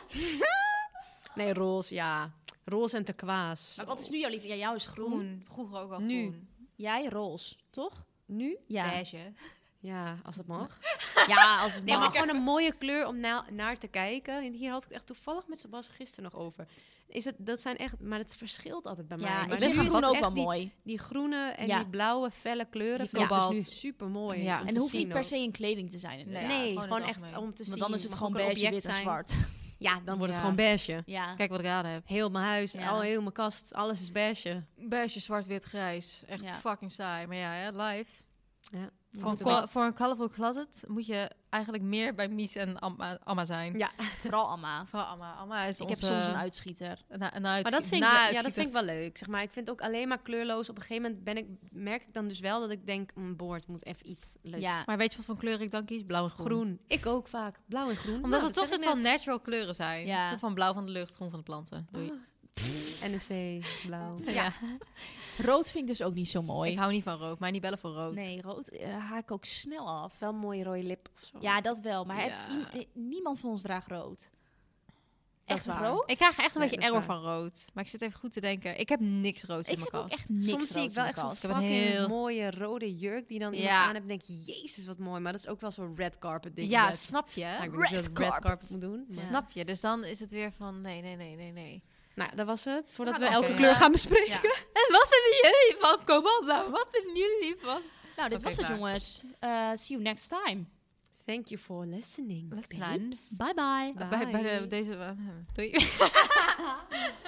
Nee, roze, ja. Roze en turquoise. Maar wat is nu jouw liefde? Ja, jouw is groen. Groen. Vroeger ook al Nu. groen. Jij roze, toch? Nu? Ja. Beige. Ja, als het mag. Ja, als het Nee, maar mag. gewoon een mooie kleur om na- naar te kijken. En hier had ik het echt toevallig met Sebas gisteren nog over. Is dat, dat zijn echt, maar het verschilt altijd bij mij. Ja, ik Maar vind nu is groen het ook echt wel die, mooi. Die groene en Ja. die blauwe felle kleuren. Die vind ik kobalt. dus nu super mooi. Ja. En het hoeft niet per se in kleding te zijn. Nee. inderdaad. Nee, gewoon gewoon het echt algemeen. om te zien. Want dan is het Mag gewoon ook een beige, wit object en zijn. zwart. Ja, dan wordt Ja. het gewoon beige. Ja. Kijk wat ik raden heb. Heel mijn huis, Ja. al heel mijn kast, alles is beige. Beige, zwart, wit, grijs. Echt Ja. fucking saai. Maar ja, hè, live. Voor Af en een, toe col- wit. voor een colorful closet moet je eigenlijk meer bij Mies en Amma, Amma zijn. Ja. Vooral Amma. Vooral Amma. Amma is Ik heb onze... soms eh, een uitschieter. na- een Maar uitschiet- dat vind, ik, na wel- ja, dat vind ik wel uitschieter. leuk. Zeg maar, ik vind ook alleen maar kleurloos. Op een gegeven moment ben ik, merk ik dan dus wel dat ik denk, mm, boord moet even iets leuks. Ja. Maar weet je wat voor kleur ik dan kies? Blauw en groen. Groen. Ik ook vaak. Blauw en groen. Omdat Nou, het toch zeg soort ik van net. natural kleuren zijn. Ja. Een soort van blauw van de lucht, groen van de planten. Doei. NEC, blauw. ja. Rood vind ik dus ook niet zo Ik mooi. hou niet van rood, maar niet bellen voor rood. Nee, rood eh, haak ik ook snel af. Wel een mooie rode lip of zo. Ja, dat wel. Maar Ja. heb- i- eh, niemand van ons draagt rood. Dat Echt is waar. rood? Ik krijg echt een Nee, beetje dat error is van rood. Maar ik zit even goed te denken. Ik heb niks roods in Ik mijn heb ook kast. echt niks Soms zie rood ik in wel mijn echt zo'n kast. Ik heb een fucking heel- mooie rode jurk die dan iemand Ja. aan hebt en denk je, jezus wat mooi. Maar dat is ook wel zo'n red carpet ding. Ja, Red- snap je? Nou, ik weet niet of Red je dat red carpet. carpet moet doen. maar- Snap je? Dus dan is het weer van nee, nee, nee, nee, nee. Nou, dat was het. Voordat Ah, we oké. elke Ja. kleur gaan bespreken. En wat vinden jullie van Kobaltblauw? Wat vinden jullie van? Nou, dit Oké, was het klaar. jongens. Eh, see you next time. Thank you for listening. Listen. Bye bye. Bij, bij de, deze... Doei.